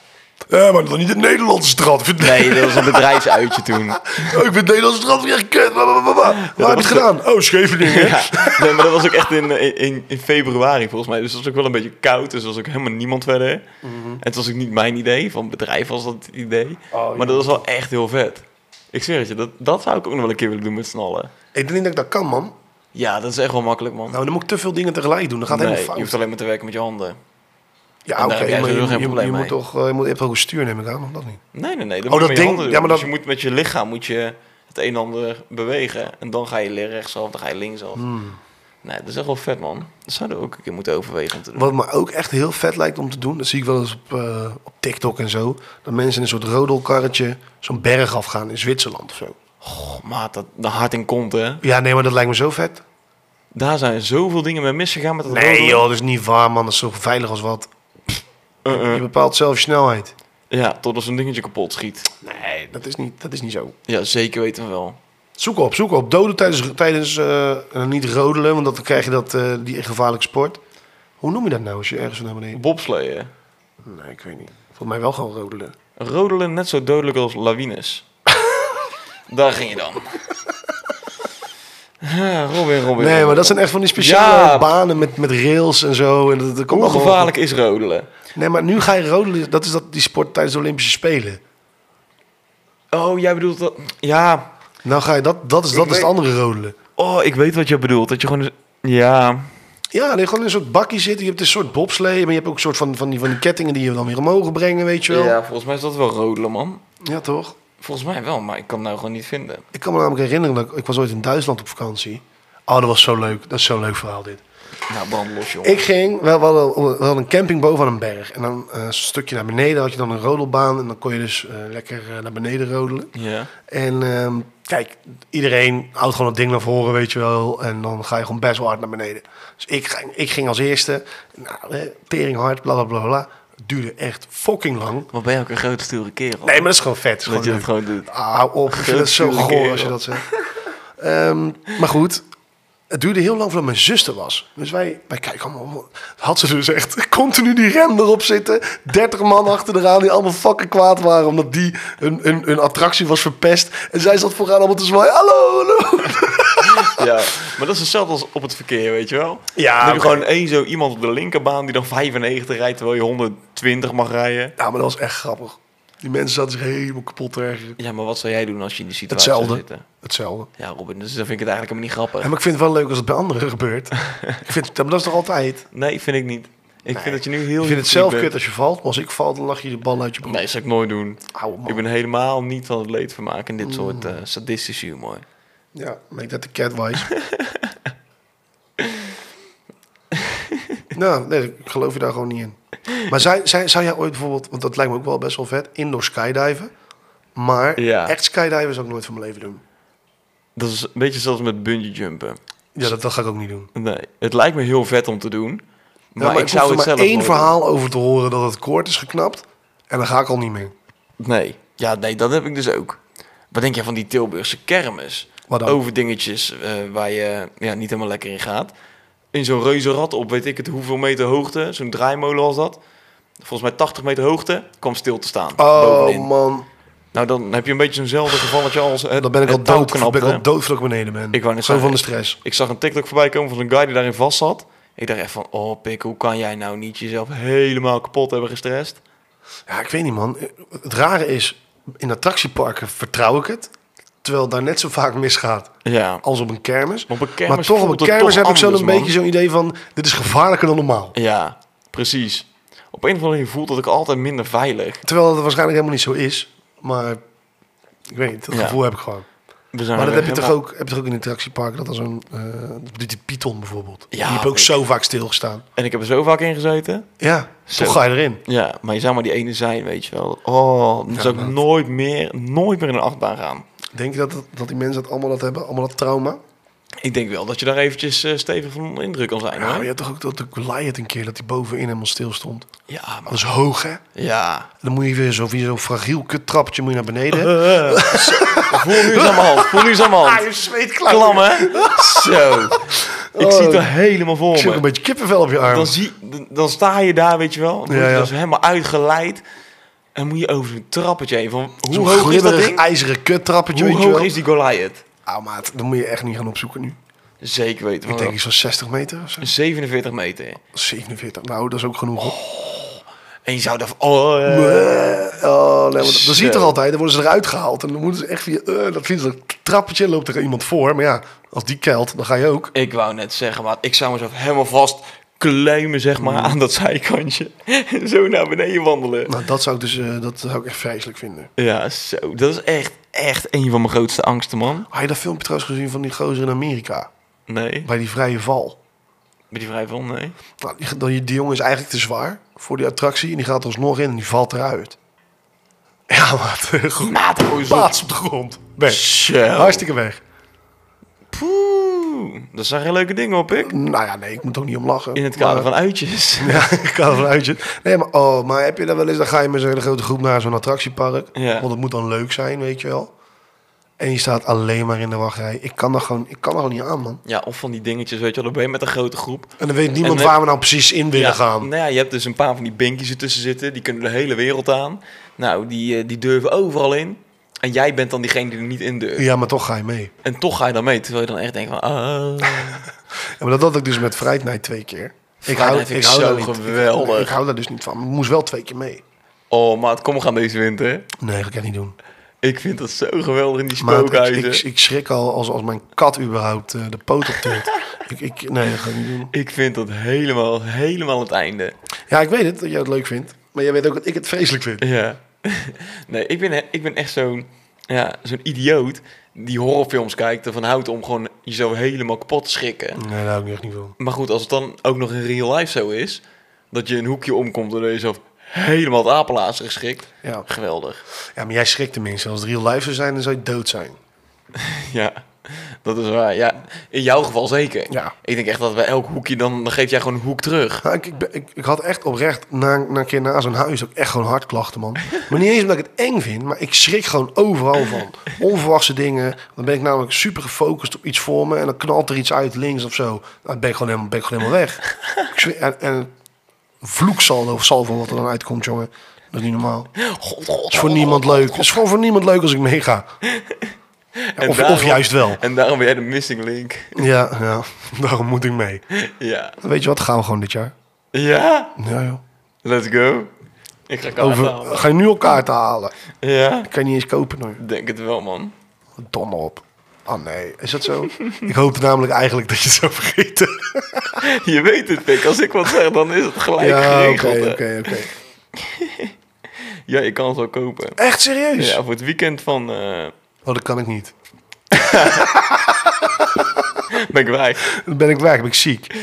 Speaker 1: Ja, maar dan niet het Nederlandse strand. Ik vind,
Speaker 2: Nee, dat was een bedrijfsuitje toen.
Speaker 1: oh, (laughs) ik vind het Nederlandse strand echt kut. Wa, wa, wa, wa. Waar heb je
Speaker 2: was
Speaker 1: het gedaan? Oh, Scheveningen.
Speaker 2: (laughs) Ja, nee, maar dat was ook echt in, eh, in, in februari volgens mij. Dus het was ook wel een beetje koud. Dus er was ook helemaal niemand verder.
Speaker 1: Mhm.
Speaker 2: En het was ook niet mijn idee. Van het bedrijf was dat het idee.
Speaker 1: Oh,
Speaker 2: maar dat was wel echt heel vet. Ik zweer het je, dat, dat zou ik ook nog wel een keer willen doen met z'n allen.
Speaker 1: Ik denk niet dat ik dat kan, man.
Speaker 2: Ja, dat is echt wel makkelijk, man.
Speaker 1: Nou, dan moet ik te veel dingen tegelijk doen. Dan gaat het
Speaker 2: nee,
Speaker 1: helemaal
Speaker 2: je hoeft
Speaker 1: fout.
Speaker 2: alleen maar te werken met je handen.
Speaker 1: Ja,
Speaker 2: en
Speaker 1: oké.
Speaker 2: daar heb jij
Speaker 1: maar je,
Speaker 2: sowieso geen
Speaker 1: je-
Speaker 2: probleem
Speaker 1: je
Speaker 2: mee.
Speaker 1: moet toch... eh, Je, moet, je hebt toch een stuur, neem ik aan, of dat niet?
Speaker 2: Nee, nee, nee. Dat
Speaker 1: Oh, dat
Speaker 2: moet je met je
Speaker 1: ding-
Speaker 2: handen doen.
Speaker 1: ja, maar
Speaker 2: Dus
Speaker 1: dat-
Speaker 2: je moet met je lichaam moet je het een en ander bewegen. En dan ga je leren rechtsaf, dan ga je linksaf.
Speaker 1: Hmm.
Speaker 2: Nee, dat is echt wel vet, man. Dat zouden we ook een keer moeten overwegen om te doen.
Speaker 1: Wat me ook echt heel vet lijkt om te doen, dat zie ik wel eens op, eh, op TikTok en zo. Dat mensen in een soort rodelkarretje zo'n berg afgaan in Zwitserland of zo.
Speaker 2: Oh, maat, dat, de hart in kont, hè.
Speaker 1: Ja, nee, maar dat lijkt me zo vet.
Speaker 2: Daar zijn zoveel dingen mee misgegaan met dat
Speaker 1: Nee
Speaker 2: rodelen.
Speaker 1: joh, dat is niet waar man. Dat is zo veilig als wat.
Speaker 2: Eh,
Speaker 1: Je
Speaker 2: eh.
Speaker 1: bepaalt zelf je snelheid.
Speaker 2: Ja, totdat zo'n dingetje kapot schiet.
Speaker 1: Nee, dat is niet, dat is niet zo.
Speaker 2: Ja, zeker weten we wel.
Speaker 1: Zoek op, zoek op. Doden tijdens, tijdens eh, eh, niet rodelen, want dan krijg je dat, eh, die gevaarlijke sport. Hoe noem je dat nou als je ergens van naar beneden...
Speaker 2: Bobsleeën.
Speaker 1: Nee, ik weet niet. Volgens mij wel gewoon rodelen.
Speaker 2: Rodelen net zo dodelijk als lawines. (laughs) Daar ging je dan. (laughs) Ja, Robin, Robin.
Speaker 1: Nee, maar dat zijn echt van die speciale
Speaker 2: Ja.
Speaker 1: banen met, met rails en zo. En dat, dat komt
Speaker 2: Hoe
Speaker 1: allemaal-
Speaker 2: gevaarlijk is rodelen?
Speaker 1: Nee, maar nu ga je rodelen. Dat is dat, die sport tijdens de Olympische Spelen.
Speaker 2: Oh, jij bedoelt dat... Ja.
Speaker 1: Nou ga je dat, dat is, dat is
Speaker 2: weet-
Speaker 1: het andere rodelen.
Speaker 2: Oh, ik weet wat je bedoelt. Dat je gewoon... dus- Ja.
Speaker 1: Ja, nee, gewoon in een soort bakkie zitten. Je hebt een soort bobslee, maar je hebt ook een soort van, van, die, van die kettingen die je dan weer omhoog brengen, weet je wel. Ja.
Speaker 2: Ja, volgens mij is dat wel rodelen, man.
Speaker 1: toch?
Speaker 2: Volgens mij wel, maar ik kan het nou gewoon niet vinden.
Speaker 1: Ik kan me namelijk herinneren, dat ik, ik was ooit in Duitsland op vakantie. Oh, dat was zo leuk. Dat is zo'n leuk verhaal dit.
Speaker 2: Nou, brand los, jongen.
Speaker 1: Ik ging, wel, wel, wel een camping boven aan een berg. En dan eh, een stukje naar beneden had je dan een rodelbaan. En dan kon je dus eh, lekker eh, naar beneden rodelen.
Speaker 2: Ja.
Speaker 1: En ehm, kijk, iedereen houdt gewoon het ding naar voren, weet je wel. En dan ga je gewoon best wel hard naar beneden. Dus ik, ging- ik ging als eerste. Nou, eh, tering hard, bla bla bla bla. Het duurde echt fucking lang.
Speaker 2: Maar ben je ook een grote stoere kerel?
Speaker 1: Nee, maar dat is gewoon vet. Het is
Speaker 2: dat je
Speaker 1: gewoon
Speaker 2: dat gewoon doet.
Speaker 1: Ah, hou op. Ik vind dat zo
Speaker 2: Natuurlijk,
Speaker 1: goor als je
Speaker 2: kerel.
Speaker 1: dat zegt. Ehm, maar goed, het duurde heel lang voordat mijn zuster was. Dus wij, wij kijken allemaal. Had ze dus echt continu die rem erop zitten. 30 man achter de raam die allemaal fucking kwaad waren. Omdat die een, een, een attractie was verpest. En zij zat vooraan allemaal te zwaaien. Hallo, hallo.
Speaker 2: Ja, (laughs) maar dat is hetzelfde als op het verkeer, weet je wel?
Speaker 1: Ja,
Speaker 2: Dan heb
Speaker 1: oké.
Speaker 2: je gewoon één zo iemand op de linkerbaan die dan 95 rijdt terwijl je 120 mag rijden.
Speaker 1: Ja, maar dat was echt grappig. Die mensen zaten zich helemaal kapot te ergeren.
Speaker 2: Ja, maar wat zou jij doen als je in die situatie zou
Speaker 1: Hetzelfde.
Speaker 2: zitten?
Speaker 1: Hetzelfde.
Speaker 2: Ja, Robin, dus dan vind ik het eigenlijk helemaal niet grappig.
Speaker 1: Ja, maar ik vind het wel leuk als het bij anderen gebeurt.
Speaker 2: (laughs)
Speaker 1: ik vind, dat dat is toch altijd?
Speaker 2: Nee, vind ik niet. Ik vind dat je nu heel...
Speaker 1: Je vindt het
Speaker 2: hypocriet
Speaker 1: zelf
Speaker 2: bent.
Speaker 1: kut als je valt. Maar als ik val, dan lag je de bal uit je broek.
Speaker 2: Nee, zou ik nooit doen.
Speaker 1: Ouwe man.
Speaker 2: Ik ben helemaal niet van het leedvermaak en dit soort eh sadistische humor.
Speaker 1: Ja, make that the cat wise.
Speaker 2: (laughs)
Speaker 1: nou, nee, ik geloof je daar gewoon niet in. Maar zou, zou, zou jij ooit bijvoorbeeld, want dat lijkt me ook wel best wel vet, indoor skydiven. Maar
Speaker 2: Ja.
Speaker 1: echt skydiven zou ik nooit van mijn leven doen.
Speaker 2: Dat is een beetje zoals met bungee jumpen.
Speaker 1: Ja, dat, dat ga ik ook niet doen.
Speaker 2: Nee, het lijkt me heel vet om te doen. Maar,
Speaker 1: Ja,
Speaker 2: ik zou
Speaker 1: hoef
Speaker 2: het
Speaker 1: er
Speaker 2: zelf
Speaker 1: maar één
Speaker 2: nooit
Speaker 1: verhaal over te horen dat het koord is geknapt. En dan ga ik al niet meer.
Speaker 2: doen. Nee. Ja, nee, dat heb ik dus ook. Wat denk je van die Tilburgse kermis?
Speaker 1: Wat dan?
Speaker 2: Over dingetjes eh, waar je ja, niet helemaal lekker in gaat. In zo'n reuzenrad op weet ik het hoeveel meter hoogte. Zo'n draaimolen was dat. Volgens mij 80 meter hoogte. kwam stil te staan.
Speaker 1: Oh
Speaker 2: bovenin.
Speaker 1: man,
Speaker 2: Nou, dan heb je een beetje zo'nzelfde gevalletje als het
Speaker 1: dan ben ik al
Speaker 2: het touw
Speaker 1: dood, ben ik
Speaker 2: knapte.
Speaker 1: al dood voordat ik beneden ben.
Speaker 2: Ik wou net
Speaker 1: Zo
Speaker 2: zeggen,
Speaker 1: van de stress.
Speaker 2: Ik zag een TikTok voorbij komen van een guy die daarin vast zat. Ik dacht echt van, oh pik, hoe kan jij nou niet jezelf helemaal kapot hebben gestrest?
Speaker 1: Ja, ik weet niet, man. Het rare is, in attractieparken vertrouw ik het. Terwijl daar net zo vaak misgaat
Speaker 2: Ja.
Speaker 1: als op een kermis.
Speaker 2: Maar op een kermis
Speaker 1: maar toch, op
Speaker 2: voelt
Speaker 1: een
Speaker 2: het
Speaker 1: kermis
Speaker 2: toch
Speaker 1: heb ik zo'n
Speaker 2: anders,
Speaker 1: een
Speaker 2: man.
Speaker 1: beetje zo'n idee van... dit is gevaarlijker dan normaal.
Speaker 2: Ja, precies. Op een of andere manier voelt dat ik altijd minder veilig.
Speaker 1: Terwijl dat waarschijnlijk helemaal niet zo is. Maar ik weet niet, dat
Speaker 2: Ja.
Speaker 1: gevoel heb ik gewoon.
Speaker 2: We zijn
Speaker 1: maar dat
Speaker 2: weer
Speaker 1: heb je, toch
Speaker 2: helemaal-
Speaker 1: ook, heb je toch ook in attractieparken? Dat als een... eh die, die Python bijvoorbeeld.
Speaker 2: Ja,
Speaker 1: die heb ook
Speaker 2: ik-
Speaker 1: zo vaak stilgestaan.
Speaker 2: En ik heb er zo vaak in gezeten.
Speaker 1: Ja,
Speaker 2: Zo.
Speaker 1: toch ga je erin.
Speaker 2: Ja, maar je zou maar die ene zijn, weet je wel. Oh, dan
Speaker 1: Ja,
Speaker 2: zou ik
Speaker 1: man.
Speaker 2: nooit meer, nooit meer in een achtbaan gaan.
Speaker 1: Denk je dat, dat- dat die mensen dat allemaal dat hebben? Allemaal dat trauma?
Speaker 2: Ik denk wel dat je daar eventjes eh, stevig van onder indruk kan zijn,
Speaker 1: Ja, maar je
Speaker 2: hoor. Ja,
Speaker 1: had toch ook dat de Goliath een keer... dat die bovenin helemaal stil stond. Dat
Speaker 2: maar...
Speaker 1: is hoog, hè?
Speaker 2: Ja.
Speaker 1: Dan moet je weer zo via zo'n fragiel kuttrapje moet je naar (laughs) beneden.
Speaker 2: (laughs)
Speaker 1: Ah,
Speaker 2: Voel nu eens aan mijn hand, voel nu eens aan mijn hand.
Speaker 1: zweetklauw.
Speaker 2: Klam, hè? Zo.
Speaker 1: (laughs)
Speaker 2: Ik zie het er helemaal voor
Speaker 1: Oh. Ik zie ook een
Speaker 2: me.
Speaker 1: beetje kippenvel op je arm.
Speaker 2: Dan, zie, dan- dan sta je daar, weet je wel. Dan word je
Speaker 1: Ja, ja.
Speaker 2: dus helemaal uitgeleid. En moet je over een trappetje heen. Van, hoe
Speaker 1: Zo'n
Speaker 2: hoog is dat
Speaker 1: glibberig
Speaker 2: ding?
Speaker 1: ijzeren kuttrappetje,
Speaker 2: Hoe
Speaker 1: weet je
Speaker 2: hoog
Speaker 1: wel.
Speaker 2: is die Goliath?
Speaker 1: Ah, maat, dat moet je echt niet gaan opzoeken nu.
Speaker 2: Zeker weten.
Speaker 1: Ik
Speaker 2: van
Speaker 1: denk
Speaker 2: wel.
Speaker 1: iets van 60 meter of zo.
Speaker 2: 47 meter.
Speaker 1: 47. Nou, dat is ook genoeg. Oh,
Speaker 2: En je zou daar... Oh, eh,
Speaker 1: oh, nee, want
Speaker 2: Zo.
Speaker 1: dat zie je toch altijd. Dan worden ze eruit gehaald. En dan moeten ze echt via eh, dat, via dat trappetje. loopt er iemand voor. Maar ja, als die keilt, dan ga je ook.
Speaker 2: Ik wou net zeggen, maar ik zou mezelf helemaal vast kleumen, zeg maar, aan dat zijkantje. (laughs) En zo naar beneden wandelen.
Speaker 1: Nou, dat zou ik dus eh, dat zou ik echt vreselijk vinden.
Speaker 2: Ja, zo. Dat is echt, echt een van mijn grootste angsten, man.
Speaker 1: Had je dat filmpje trouwens gezien van die gozer in Amerika?
Speaker 2: Nee.
Speaker 1: Bij die vrije val.
Speaker 2: Ben die vrij van? Nee.
Speaker 1: Nou, die, die, die jongen is eigenlijk te zwaar voor die attractie. En die gaat er alsnog in en die valt eruit. Ja,
Speaker 2: (laughs)
Speaker 1: wat goed.
Speaker 2: Maat, hoe is
Speaker 1: Plaats op de grond. Weg.
Speaker 2: Zo.
Speaker 1: Hartstikke weg.
Speaker 2: Poeh, dat zijn geen leuke dingen op ik.
Speaker 1: Nou ja, nee, ik moet ook niet om lachen.
Speaker 2: In het kader
Speaker 1: Maar-
Speaker 2: van uitjes.
Speaker 1: (laughs) Ja, in het kader van uitje. Nee, maar, oh, maar heb je dat wel eens... Dan ga je met zo'n hele grote groep naar zo'n attractiepark.
Speaker 2: Ja.
Speaker 1: Want het moet dan leuk zijn, weet je wel. En je staat alleen maar in de wachtrij. Ik kan er gewoon, ik kan er gewoon niet aan, man.
Speaker 2: (laughs) Ja, of van die dingetjes, weet je wel, dan ben je met een grote groep.
Speaker 1: En dan weet niemand
Speaker 2: En dan-
Speaker 1: waar we nou precies in willen
Speaker 2: ja,
Speaker 1: gaan.
Speaker 2: Nou ja, je hebt dus een paar van die benkjes ertussen zitten, die kunnen de hele wereld aan. Nou, die, eh, die durven overal in. En jij bent dan diegene die er niet in durft.
Speaker 1: Ja, maar toch ga je mee.
Speaker 2: En toch ga je dan mee, terwijl je dan echt denkt van... ah.
Speaker 1: Ja, maar dat had ik dus met Fright Night twee keer. Ik
Speaker 2: Fright Night vind ik zo
Speaker 1: daar niet-
Speaker 2: geweldig.
Speaker 1: Ik, hou daar dus niet van. Maar ik moest wel twee keer mee.
Speaker 2: Oh, maat, kom, we gaan deze winter.
Speaker 1: Nee, dat kan ik niet doen.
Speaker 2: Ik vind dat zo geweldig in die
Speaker 1: Maar ik,
Speaker 2: spookhuizen.
Speaker 1: ik,
Speaker 2: Ik,
Speaker 1: ik schrik al als, als mijn kat überhaupt eh, de poot op
Speaker 2: (laughs)
Speaker 1: tilt. ik, ik, nee, dat ga ik niet doen.
Speaker 2: vind dat helemaal, helemaal het einde.
Speaker 1: Ja, ik weet het, dat jij het leuk vindt. Maar jij weet ook dat ik het vreselijk vind.
Speaker 2: Ja. (laughs) nee, ik ben, ik ben echt zo'n ja, zo'n idioot die horrorfilms kijkt, ervan houdt om gewoon jezelf helemaal kapot schrikken.
Speaker 1: Nee, daar hou ik echt niet van.
Speaker 2: Maar goed, als het dan ook nog in real life zo is, dat je een hoekje omkomt en jezelf helemaal het apelaas geschikt.
Speaker 1: Ja.
Speaker 2: Geweldig.
Speaker 1: ja, maar jij schrikt tenminste. Als het real life zou zijn, dan zou je dood zijn.
Speaker 2: Ja, dat is waar. Ja, in jouw geval zeker.
Speaker 1: Ja.
Speaker 2: Ik denk echt dat bij elk hoekje, dan, dan geef jij gewoon een hoek terug.
Speaker 1: Nou, ik, ik, ben- ik, ik had echt oprecht na, na een keer na zo'n huis ook echt gewoon hartklachten, man. Maar niet eens omdat ik het eng vind, maar ik schrik gewoon overal van. Onverwachte dingen. Dan ben ik namelijk super gefocust op iets voor me en dan knalt er iets uit links of zo. Nou, dan ben ik gewoon helemaal, ben ik gewoon helemaal weg. Ik zweer- en, en vloeksaldo of salvo wat er dan uitkomt, jongen. Dat is niet normaal.
Speaker 2: God, God,
Speaker 1: Het is voor niemand leuk. Het is gewoon voor niemand leuk als ik meega.
Speaker 2: En
Speaker 1: of- of juist wel.
Speaker 2: En daarom ben jij de missing link.
Speaker 1: Ja, ja, (laughs) daarom moet ik mee.
Speaker 2: Ja.
Speaker 1: Weet je wat, gaan we gewoon dit jaar.
Speaker 2: Ja?
Speaker 1: Ja, joh.
Speaker 2: Let's go. Ik ga kaarten
Speaker 1: Over,
Speaker 2: halen.
Speaker 1: ga je nu al kaarten halen?
Speaker 2: Ja,
Speaker 1: Kan je niet eens kopen, nou, hoor.
Speaker 2: ik denk het wel, man.
Speaker 1: Dom op. Oh nee, is dat zo? ik hoopte namelijk eigenlijk dat je het zou
Speaker 2: (laughs)
Speaker 1: vergeten.
Speaker 2: Je weet het, Pik. Als ik wat zeg, dan is het gelijk
Speaker 1: ja,
Speaker 2: geregeld.
Speaker 1: oké,
Speaker 2: hè.
Speaker 1: oké, oké.
Speaker 2: Ja, ik kan het wel kopen.
Speaker 1: Echt serieus?
Speaker 2: Ja, voor het weekend van... eh
Speaker 1: Oh, dat kan ik niet.
Speaker 2: ben ik weg.
Speaker 1: Dan ben ik weg, ben ik ziek.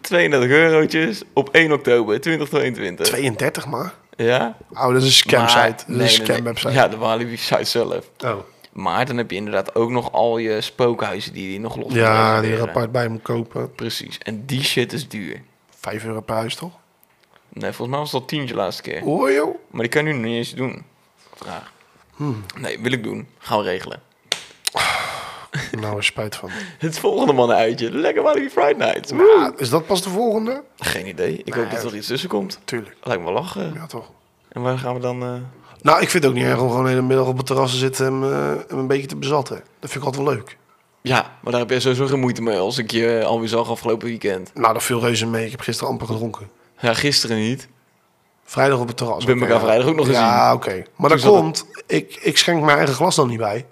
Speaker 2: 32 eurotjes op 1 oktober 2022.
Speaker 1: 32 maar?
Speaker 2: Ja?
Speaker 1: Oh, dat is een scam
Speaker 2: Maar-
Speaker 1: site. Dat is
Speaker 2: nee,
Speaker 1: een
Speaker 2: nee,
Speaker 1: scam
Speaker 2: nee.
Speaker 1: website.
Speaker 2: Ja, de Walibi site zelf.
Speaker 1: Oh.
Speaker 2: Maar dan heb je inderdaad ook nog al je spookhuizen die je nog los moet
Speaker 1: Ja, die er
Speaker 2: reserveren.
Speaker 1: apart bij moet kopen.
Speaker 2: Precies. En die shit is duur.
Speaker 1: 5 euro per huis, toch?
Speaker 2: Nee, volgens mij was het al tientje laatste keer.
Speaker 1: Oh, joh.
Speaker 2: Maar die kan je nu nog niet eens doen. Vraag.
Speaker 1: Hmm.
Speaker 2: Nee, wil ik doen. Gaan we regelen.
Speaker 1: Nou, is spijt van.
Speaker 2: Het volgende mannen uitje. Lekker Walibi Friday Night.
Speaker 1: Ja, is dat pas de volgende?
Speaker 2: Geen idee. Ik
Speaker 1: Nou,
Speaker 2: hoop dat er iets tussen komt.
Speaker 1: Tuurlijk.
Speaker 2: Lijkt me wel lachen.
Speaker 1: Ja, toch.
Speaker 2: En waar gaan we dan... eh,
Speaker 1: Nou, ik vind het ook niet erg om gewoon de hele middag op het terras te zitten en eh, en een beetje te bezatten. Dat vind ik altijd wel leuk.
Speaker 2: Ja, maar daar heb jij sowieso geen moeite mee als ik je alweer zag afgelopen weekend.
Speaker 1: Nou, dat viel reuze mee. Ik heb gisteren amper gedronken.
Speaker 2: Ja, gisteren niet.
Speaker 1: Vrijdag op het terras.
Speaker 2: We hebben
Speaker 1: Oké,
Speaker 2: elkaar vrijdag ook nog
Speaker 1: Ja, oké. Maar
Speaker 2: Toen
Speaker 1: dat
Speaker 2: zat
Speaker 1: komt, ik, ik schenk mijn eigen glas dan niet bij.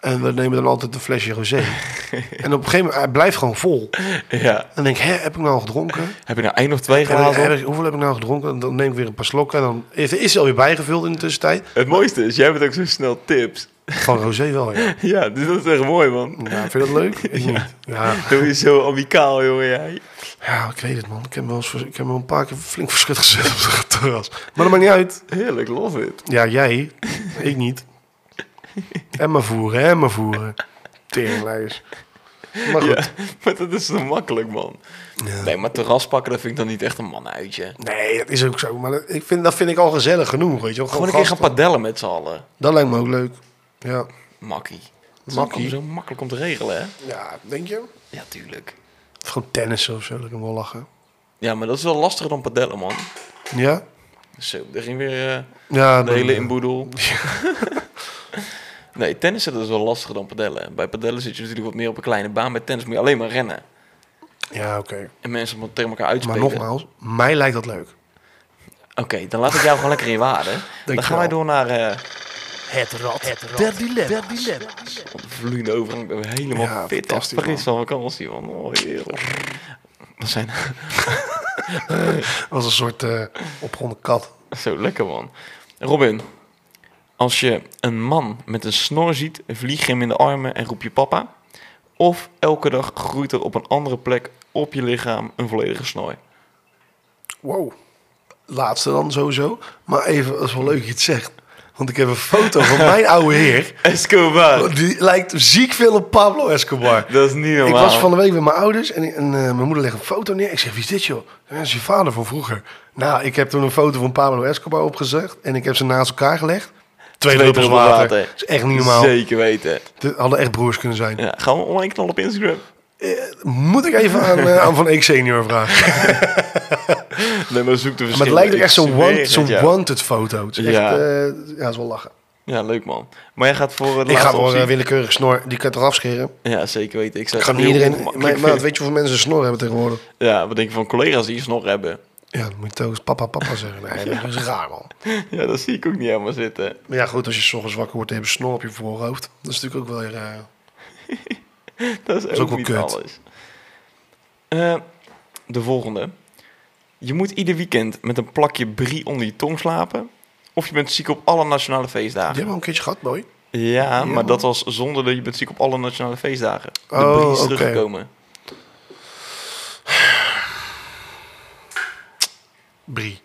Speaker 1: En we nemen dan altijd een flesje
Speaker 2: (laughs)
Speaker 1: rosé. en op een gegeven moment, hij blijft gewoon vol.
Speaker 2: Ja.
Speaker 1: En dan denk ik, hè, heb ik nou al gedronken?
Speaker 2: Heb je nou één of twee
Speaker 1: Heb ik,
Speaker 2: glazen?
Speaker 1: heb ik- hoeveel heb ik nou gedronken? En dan neem ik weer een paar slokken. En dan is, is hij alweer bijgevuld in de tussentijd.
Speaker 2: Het mooiste is, jij hebt ook zo snel tips. (laughs)
Speaker 1: Gewoon rosé wel, ja.
Speaker 2: Ja, dus dat is echt mooi, man.
Speaker 1: ja vind je dat leuk? Ik niet. Ja.
Speaker 2: Doe je zo amicaal, jongen, jij.
Speaker 1: ja, ik weet het, man. Ik heb me wel, eens vers- ik heb me wel een paar keer flink verschut gezet op het terras. Maar dat maakt niet uit.
Speaker 2: Heerlijk, love it.
Speaker 1: Ja, jij. ik niet. En maar voeren, en maar voeren. Teringlijers. Maar goed.
Speaker 2: Ja, (laughs) maar dat is zo makkelijk, man. Nee, maar terras pakken, dat vind ik dan niet echt een manuitje.
Speaker 1: Nee, dat is ook zo. Maar dat, ik vind, dat vind ik al gezellig genoeg, weet je wel.
Speaker 2: Gewoon
Speaker 1: Gewoon,
Speaker 2: een keer gaan
Speaker 1: gasten.
Speaker 2: padellen met z'n allen.
Speaker 1: Dat lijkt me ook leuk. Ja.
Speaker 2: Makkie. Dat is
Speaker 1: Makkie.
Speaker 2: ook zo makkelijk om te regelen, hè?
Speaker 1: Ja, denk je?
Speaker 2: Ja, tuurlijk.
Speaker 1: Of gewoon tennissen of zo, dat ik hem wel lachen.
Speaker 2: Ja, maar dat is wel lastiger dan padellen, man.
Speaker 1: Ja?
Speaker 2: Zo, er ging weer eh,
Speaker 1: Ja.
Speaker 2: de
Speaker 1: dat-
Speaker 2: hele inboedel. nee, tennissen dat is wel lastiger dan padellen. Bij padellen zit je natuurlijk wat meer op een kleine baan. Bij tennis moet je alleen maar rennen.
Speaker 1: (laughs) Ja, oké.
Speaker 2: En mensen moeten tegen elkaar
Speaker 1: Maar
Speaker 2: uitspelen.
Speaker 1: nogmaals, mij lijkt dat leuk.
Speaker 2: Oké, dan laat ik jou gewoon lekker in je
Speaker 1: (laughs)
Speaker 2: waarde. Dan gaan
Speaker 1: wel.
Speaker 2: wij door naar... eh,
Speaker 1: Het rad. Het rad. Der dilemma's.
Speaker 2: Wat een vloeiende overgang. Ik ben helemaal
Speaker 1: Ja,
Speaker 2: fit en
Speaker 1: fantastisch,
Speaker 2: fris van vakantie, man. Oh, heerlijk. Dat zijn (laughs)
Speaker 1: Als een soort eh opgewonden kat.
Speaker 2: zo lekker, man. Robin, als je een man met een snor ziet, vlieg je hem in de armen en roep je papa. Of elke dag groeit er op een andere plek op je lichaam een volledige snor.
Speaker 1: Wow. Laatste dan sowieso. Maar even, dat is wel leuk dat je het zegt. Want ik heb een foto
Speaker 2: (laughs)
Speaker 1: van mijn oude heer.
Speaker 2: Escobar.
Speaker 1: Die lijkt ziek veel op Pablo Escobar.
Speaker 2: Dat is niet
Speaker 1: Ik
Speaker 2: normaal.
Speaker 1: was van de week met mijn ouders en, en eh, mijn moeder legt een foto neer. Ik zeg, wie is dit joh? Ja, Dat is je vader van vroeger. Nou, ik heb toen een foto van Pablo Escobar opgezegd en ik heb ze naast elkaar gelegd. Twee druppels
Speaker 2: druppels
Speaker 1: water.
Speaker 2: water.
Speaker 1: Dat is echt niet normaal.
Speaker 2: Zeker weten.
Speaker 1: Dit hadden echt broers kunnen zijn.
Speaker 2: Ja, gaan we online knallen op Instagram?
Speaker 1: Moet ik even aan, eh, aan Van Eek senior
Speaker 2: (laughs)
Speaker 1: vragen.
Speaker 2: Nee, maar zoek de verschillen.
Speaker 1: Maar het lijkt ook
Speaker 2: Ik
Speaker 1: echt zo'n
Speaker 2: zweer
Speaker 1: want,
Speaker 2: het
Speaker 1: zo'n
Speaker 2: jou.
Speaker 1: wanted foto. Het is echt,
Speaker 2: Ja.
Speaker 1: ja. ja, dat is wel lachen.
Speaker 2: Ja, leuk man. Maar jij gaat voor eh, de
Speaker 1: Ik ga
Speaker 2: laatste
Speaker 1: voor
Speaker 2: optie.
Speaker 1: een willekeurig snor, die kan je toch afscheren?
Speaker 2: Ja, zeker weten. Ik zou
Speaker 1: Eh, Ik ga
Speaker 2: het
Speaker 1: niet
Speaker 2: heel
Speaker 1: iedereen... Maar,
Speaker 2: ongemakkelijk
Speaker 1: maar
Speaker 2: vinden.
Speaker 1: weet je hoeveel mensen een snor hebben tegenwoordig?
Speaker 2: Ja, wat denk je van collega's die een snor hebben? (laughs)
Speaker 1: Ja, dan moet je toch eens papa, papa zeggen. (laughs) Nee, dat is raar man.
Speaker 2: Ja, dat zie ik ook niet helemaal zitten.
Speaker 1: Maar ja, goed, als je 's ochtends wakker wordt en je hebt een snor op je voorhoofd. Dat is natuurlijk ook wel weer... eh,
Speaker 2: Dat is,
Speaker 1: is
Speaker 2: ook,
Speaker 1: ook wel
Speaker 2: niet
Speaker 1: kut.
Speaker 2: alles. Eh, de volgende. Je moet ieder weekend met een plakje brie onder je tong slapen. Of je bent ziek op alle nationale
Speaker 1: Die
Speaker 2: feestdagen.
Speaker 1: hebben we al een keertje gehad, mooi.
Speaker 2: Ja, maar dat was zonder dat je bent ziek op alle nationale feestdagen. De
Speaker 1: Oh,
Speaker 2: brie is
Speaker 1: oké.
Speaker 2: teruggekomen.
Speaker 1: Brie.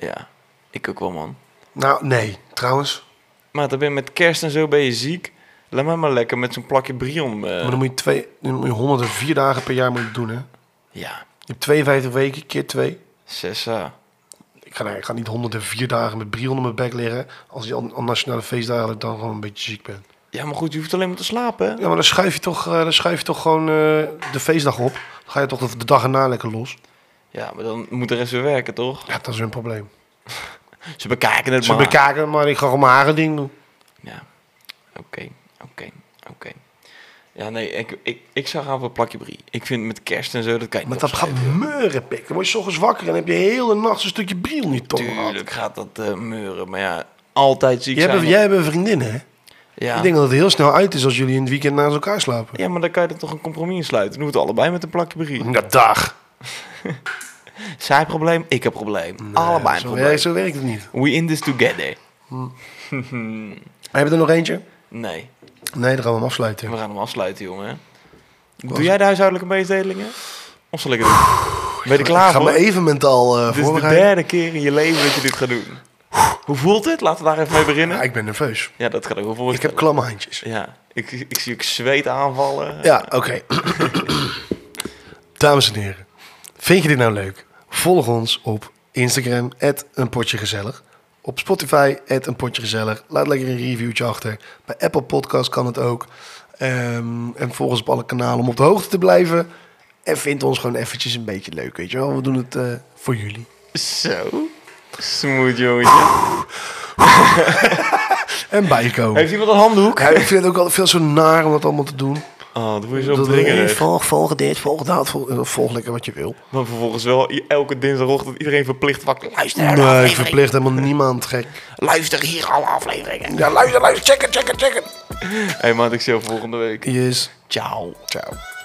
Speaker 2: Ja, ik ook wel, man.
Speaker 1: Nou, nee. Trouwens,
Speaker 2: Maar dan ben je met kerst en zo ben je ziek. Laat mij maar lekker met zo'n plakje brion. eh,
Speaker 1: maar dan moet je, twee, dan moet je 104 dagen per jaar moet je doen, hè?
Speaker 2: Ja,
Speaker 1: Je hebt 52 weken keer 2.
Speaker 2: Sessa.
Speaker 1: Ik ga, nee, ik ga niet 104 dagen met brie onder mijn bek liggen. Als je aan, aan nationale feestdagen dat ik dan gewoon een beetje ziek ben.
Speaker 2: Ja, maar goed, je hoeft alleen maar te slapen. hè?
Speaker 1: Ja, maar dan schuif je toch, eh, dan schuif je toch gewoon eh, de feestdag op. Dan ga je toch de, de dag erna lekker los.
Speaker 2: Ja, maar dan moet de rest weer werken, toch?
Speaker 1: Ja, dat is hun probleem.
Speaker 2: Ze bekijken het
Speaker 1: Ze
Speaker 2: maar.
Speaker 1: bekaken, maar ik ga gewoon mijn eigen ding doen.
Speaker 2: ja, oké, oké, oké. Ja, nee, ik, ik, ik zou gaan voor een plakje brie. Ik vind met kerst en zo, dat kan je
Speaker 1: Maar
Speaker 2: niet
Speaker 1: dat gaat
Speaker 2: opschrijven.
Speaker 1: meuren, pik. Dan word je 's ochtends wakker en heb je heel de nacht een stukje brie om je tong gehad.
Speaker 2: Tuurlijk gaat dat eh, meuren, maar ja, altijd ziek
Speaker 1: Jij
Speaker 2: zijn.
Speaker 1: hebt, jij hebt een vriendin, hè?
Speaker 2: ja.
Speaker 1: Ik denk dat het heel snel uit is als jullie in het weekend naast elkaar slapen.
Speaker 2: ja, maar dan kan je er toch een compromis in sluiten. Doen we het allebei met een plakje brie.
Speaker 1: Ja, dag.
Speaker 2: Zij probleem, ik heb probleem. allebei een
Speaker 1: zo,
Speaker 2: probleem.
Speaker 1: werkt, zo werkt het niet.
Speaker 2: We in this together.
Speaker 1: Heb je er nog eentje?
Speaker 2: (laughs) Nee,
Speaker 1: Nee, dan gaan we hem afsluiten.
Speaker 2: we gaan hem afsluiten, jongen. Doe jij de huishoudelijke mededelingen? Of zal ik het doen? Ben je er klaar
Speaker 1: Ik ga
Speaker 2: voor?
Speaker 1: me even mentaal eh
Speaker 2: Dit is de
Speaker 1: voorbereiden.
Speaker 2: derde keer in je leven dat je dit gaat doen. Hoe voelt het? Laten we daar even mee
Speaker 1: Ja,
Speaker 2: beginnen.
Speaker 1: ik ben nerveus.
Speaker 2: Ja, dat kan ik wel
Speaker 1: Ik heb
Speaker 2: voorstellen.
Speaker 1: klamme handjes.
Speaker 2: Ja, ik, ik zie ook zweet aanvallen.
Speaker 1: Ja, oké. (clears throat) Dames en heren, vind je dit nou leuk? Volg ons op Instagram, een potje gezellig. Op Spotify, een potje gezellig. Laat lekker een reviewtje achter. Bij Apple Podcast kan het ook. Ehm, en volg ons op alle kanalen om op de hoogte te blijven. En vind ons gewoon eventjes een beetje leuk, weet je wel. We doen het eh, voor jullie.
Speaker 2: Zo. Smooth, jongetje.
Speaker 1: En bijkomen.
Speaker 2: Heeft iemand een handdoek?
Speaker 1: Ja, ik vind het ook altijd veel zo naar om dat allemaal te doen.
Speaker 2: Oh, dat word je zo
Speaker 1: Dat-
Speaker 2: dringend.
Speaker 1: volg, volg dit, volg dat, volg, volg lekker wat je wil.
Speaker 2: Maar vervolgens wel i- elke dinsdagochtend iedereen verplicht wakker.
Speaker 3: Luister, naar de
Speaker 1: Nee, ik
Speaker 3: aflevering.
Speaker 1: verplicht helemaal niemand gek.
Speaker 3: luister hier alle afleveringen.
Speaker 1: Ja, luister, luister, check het, check het, check het.
Speaker 2: Hé, hey, maat, ik zie jou volgende week.
Speaker 1: Yes.
Speaker 3: Ciao.
Speaker 1: Ciao.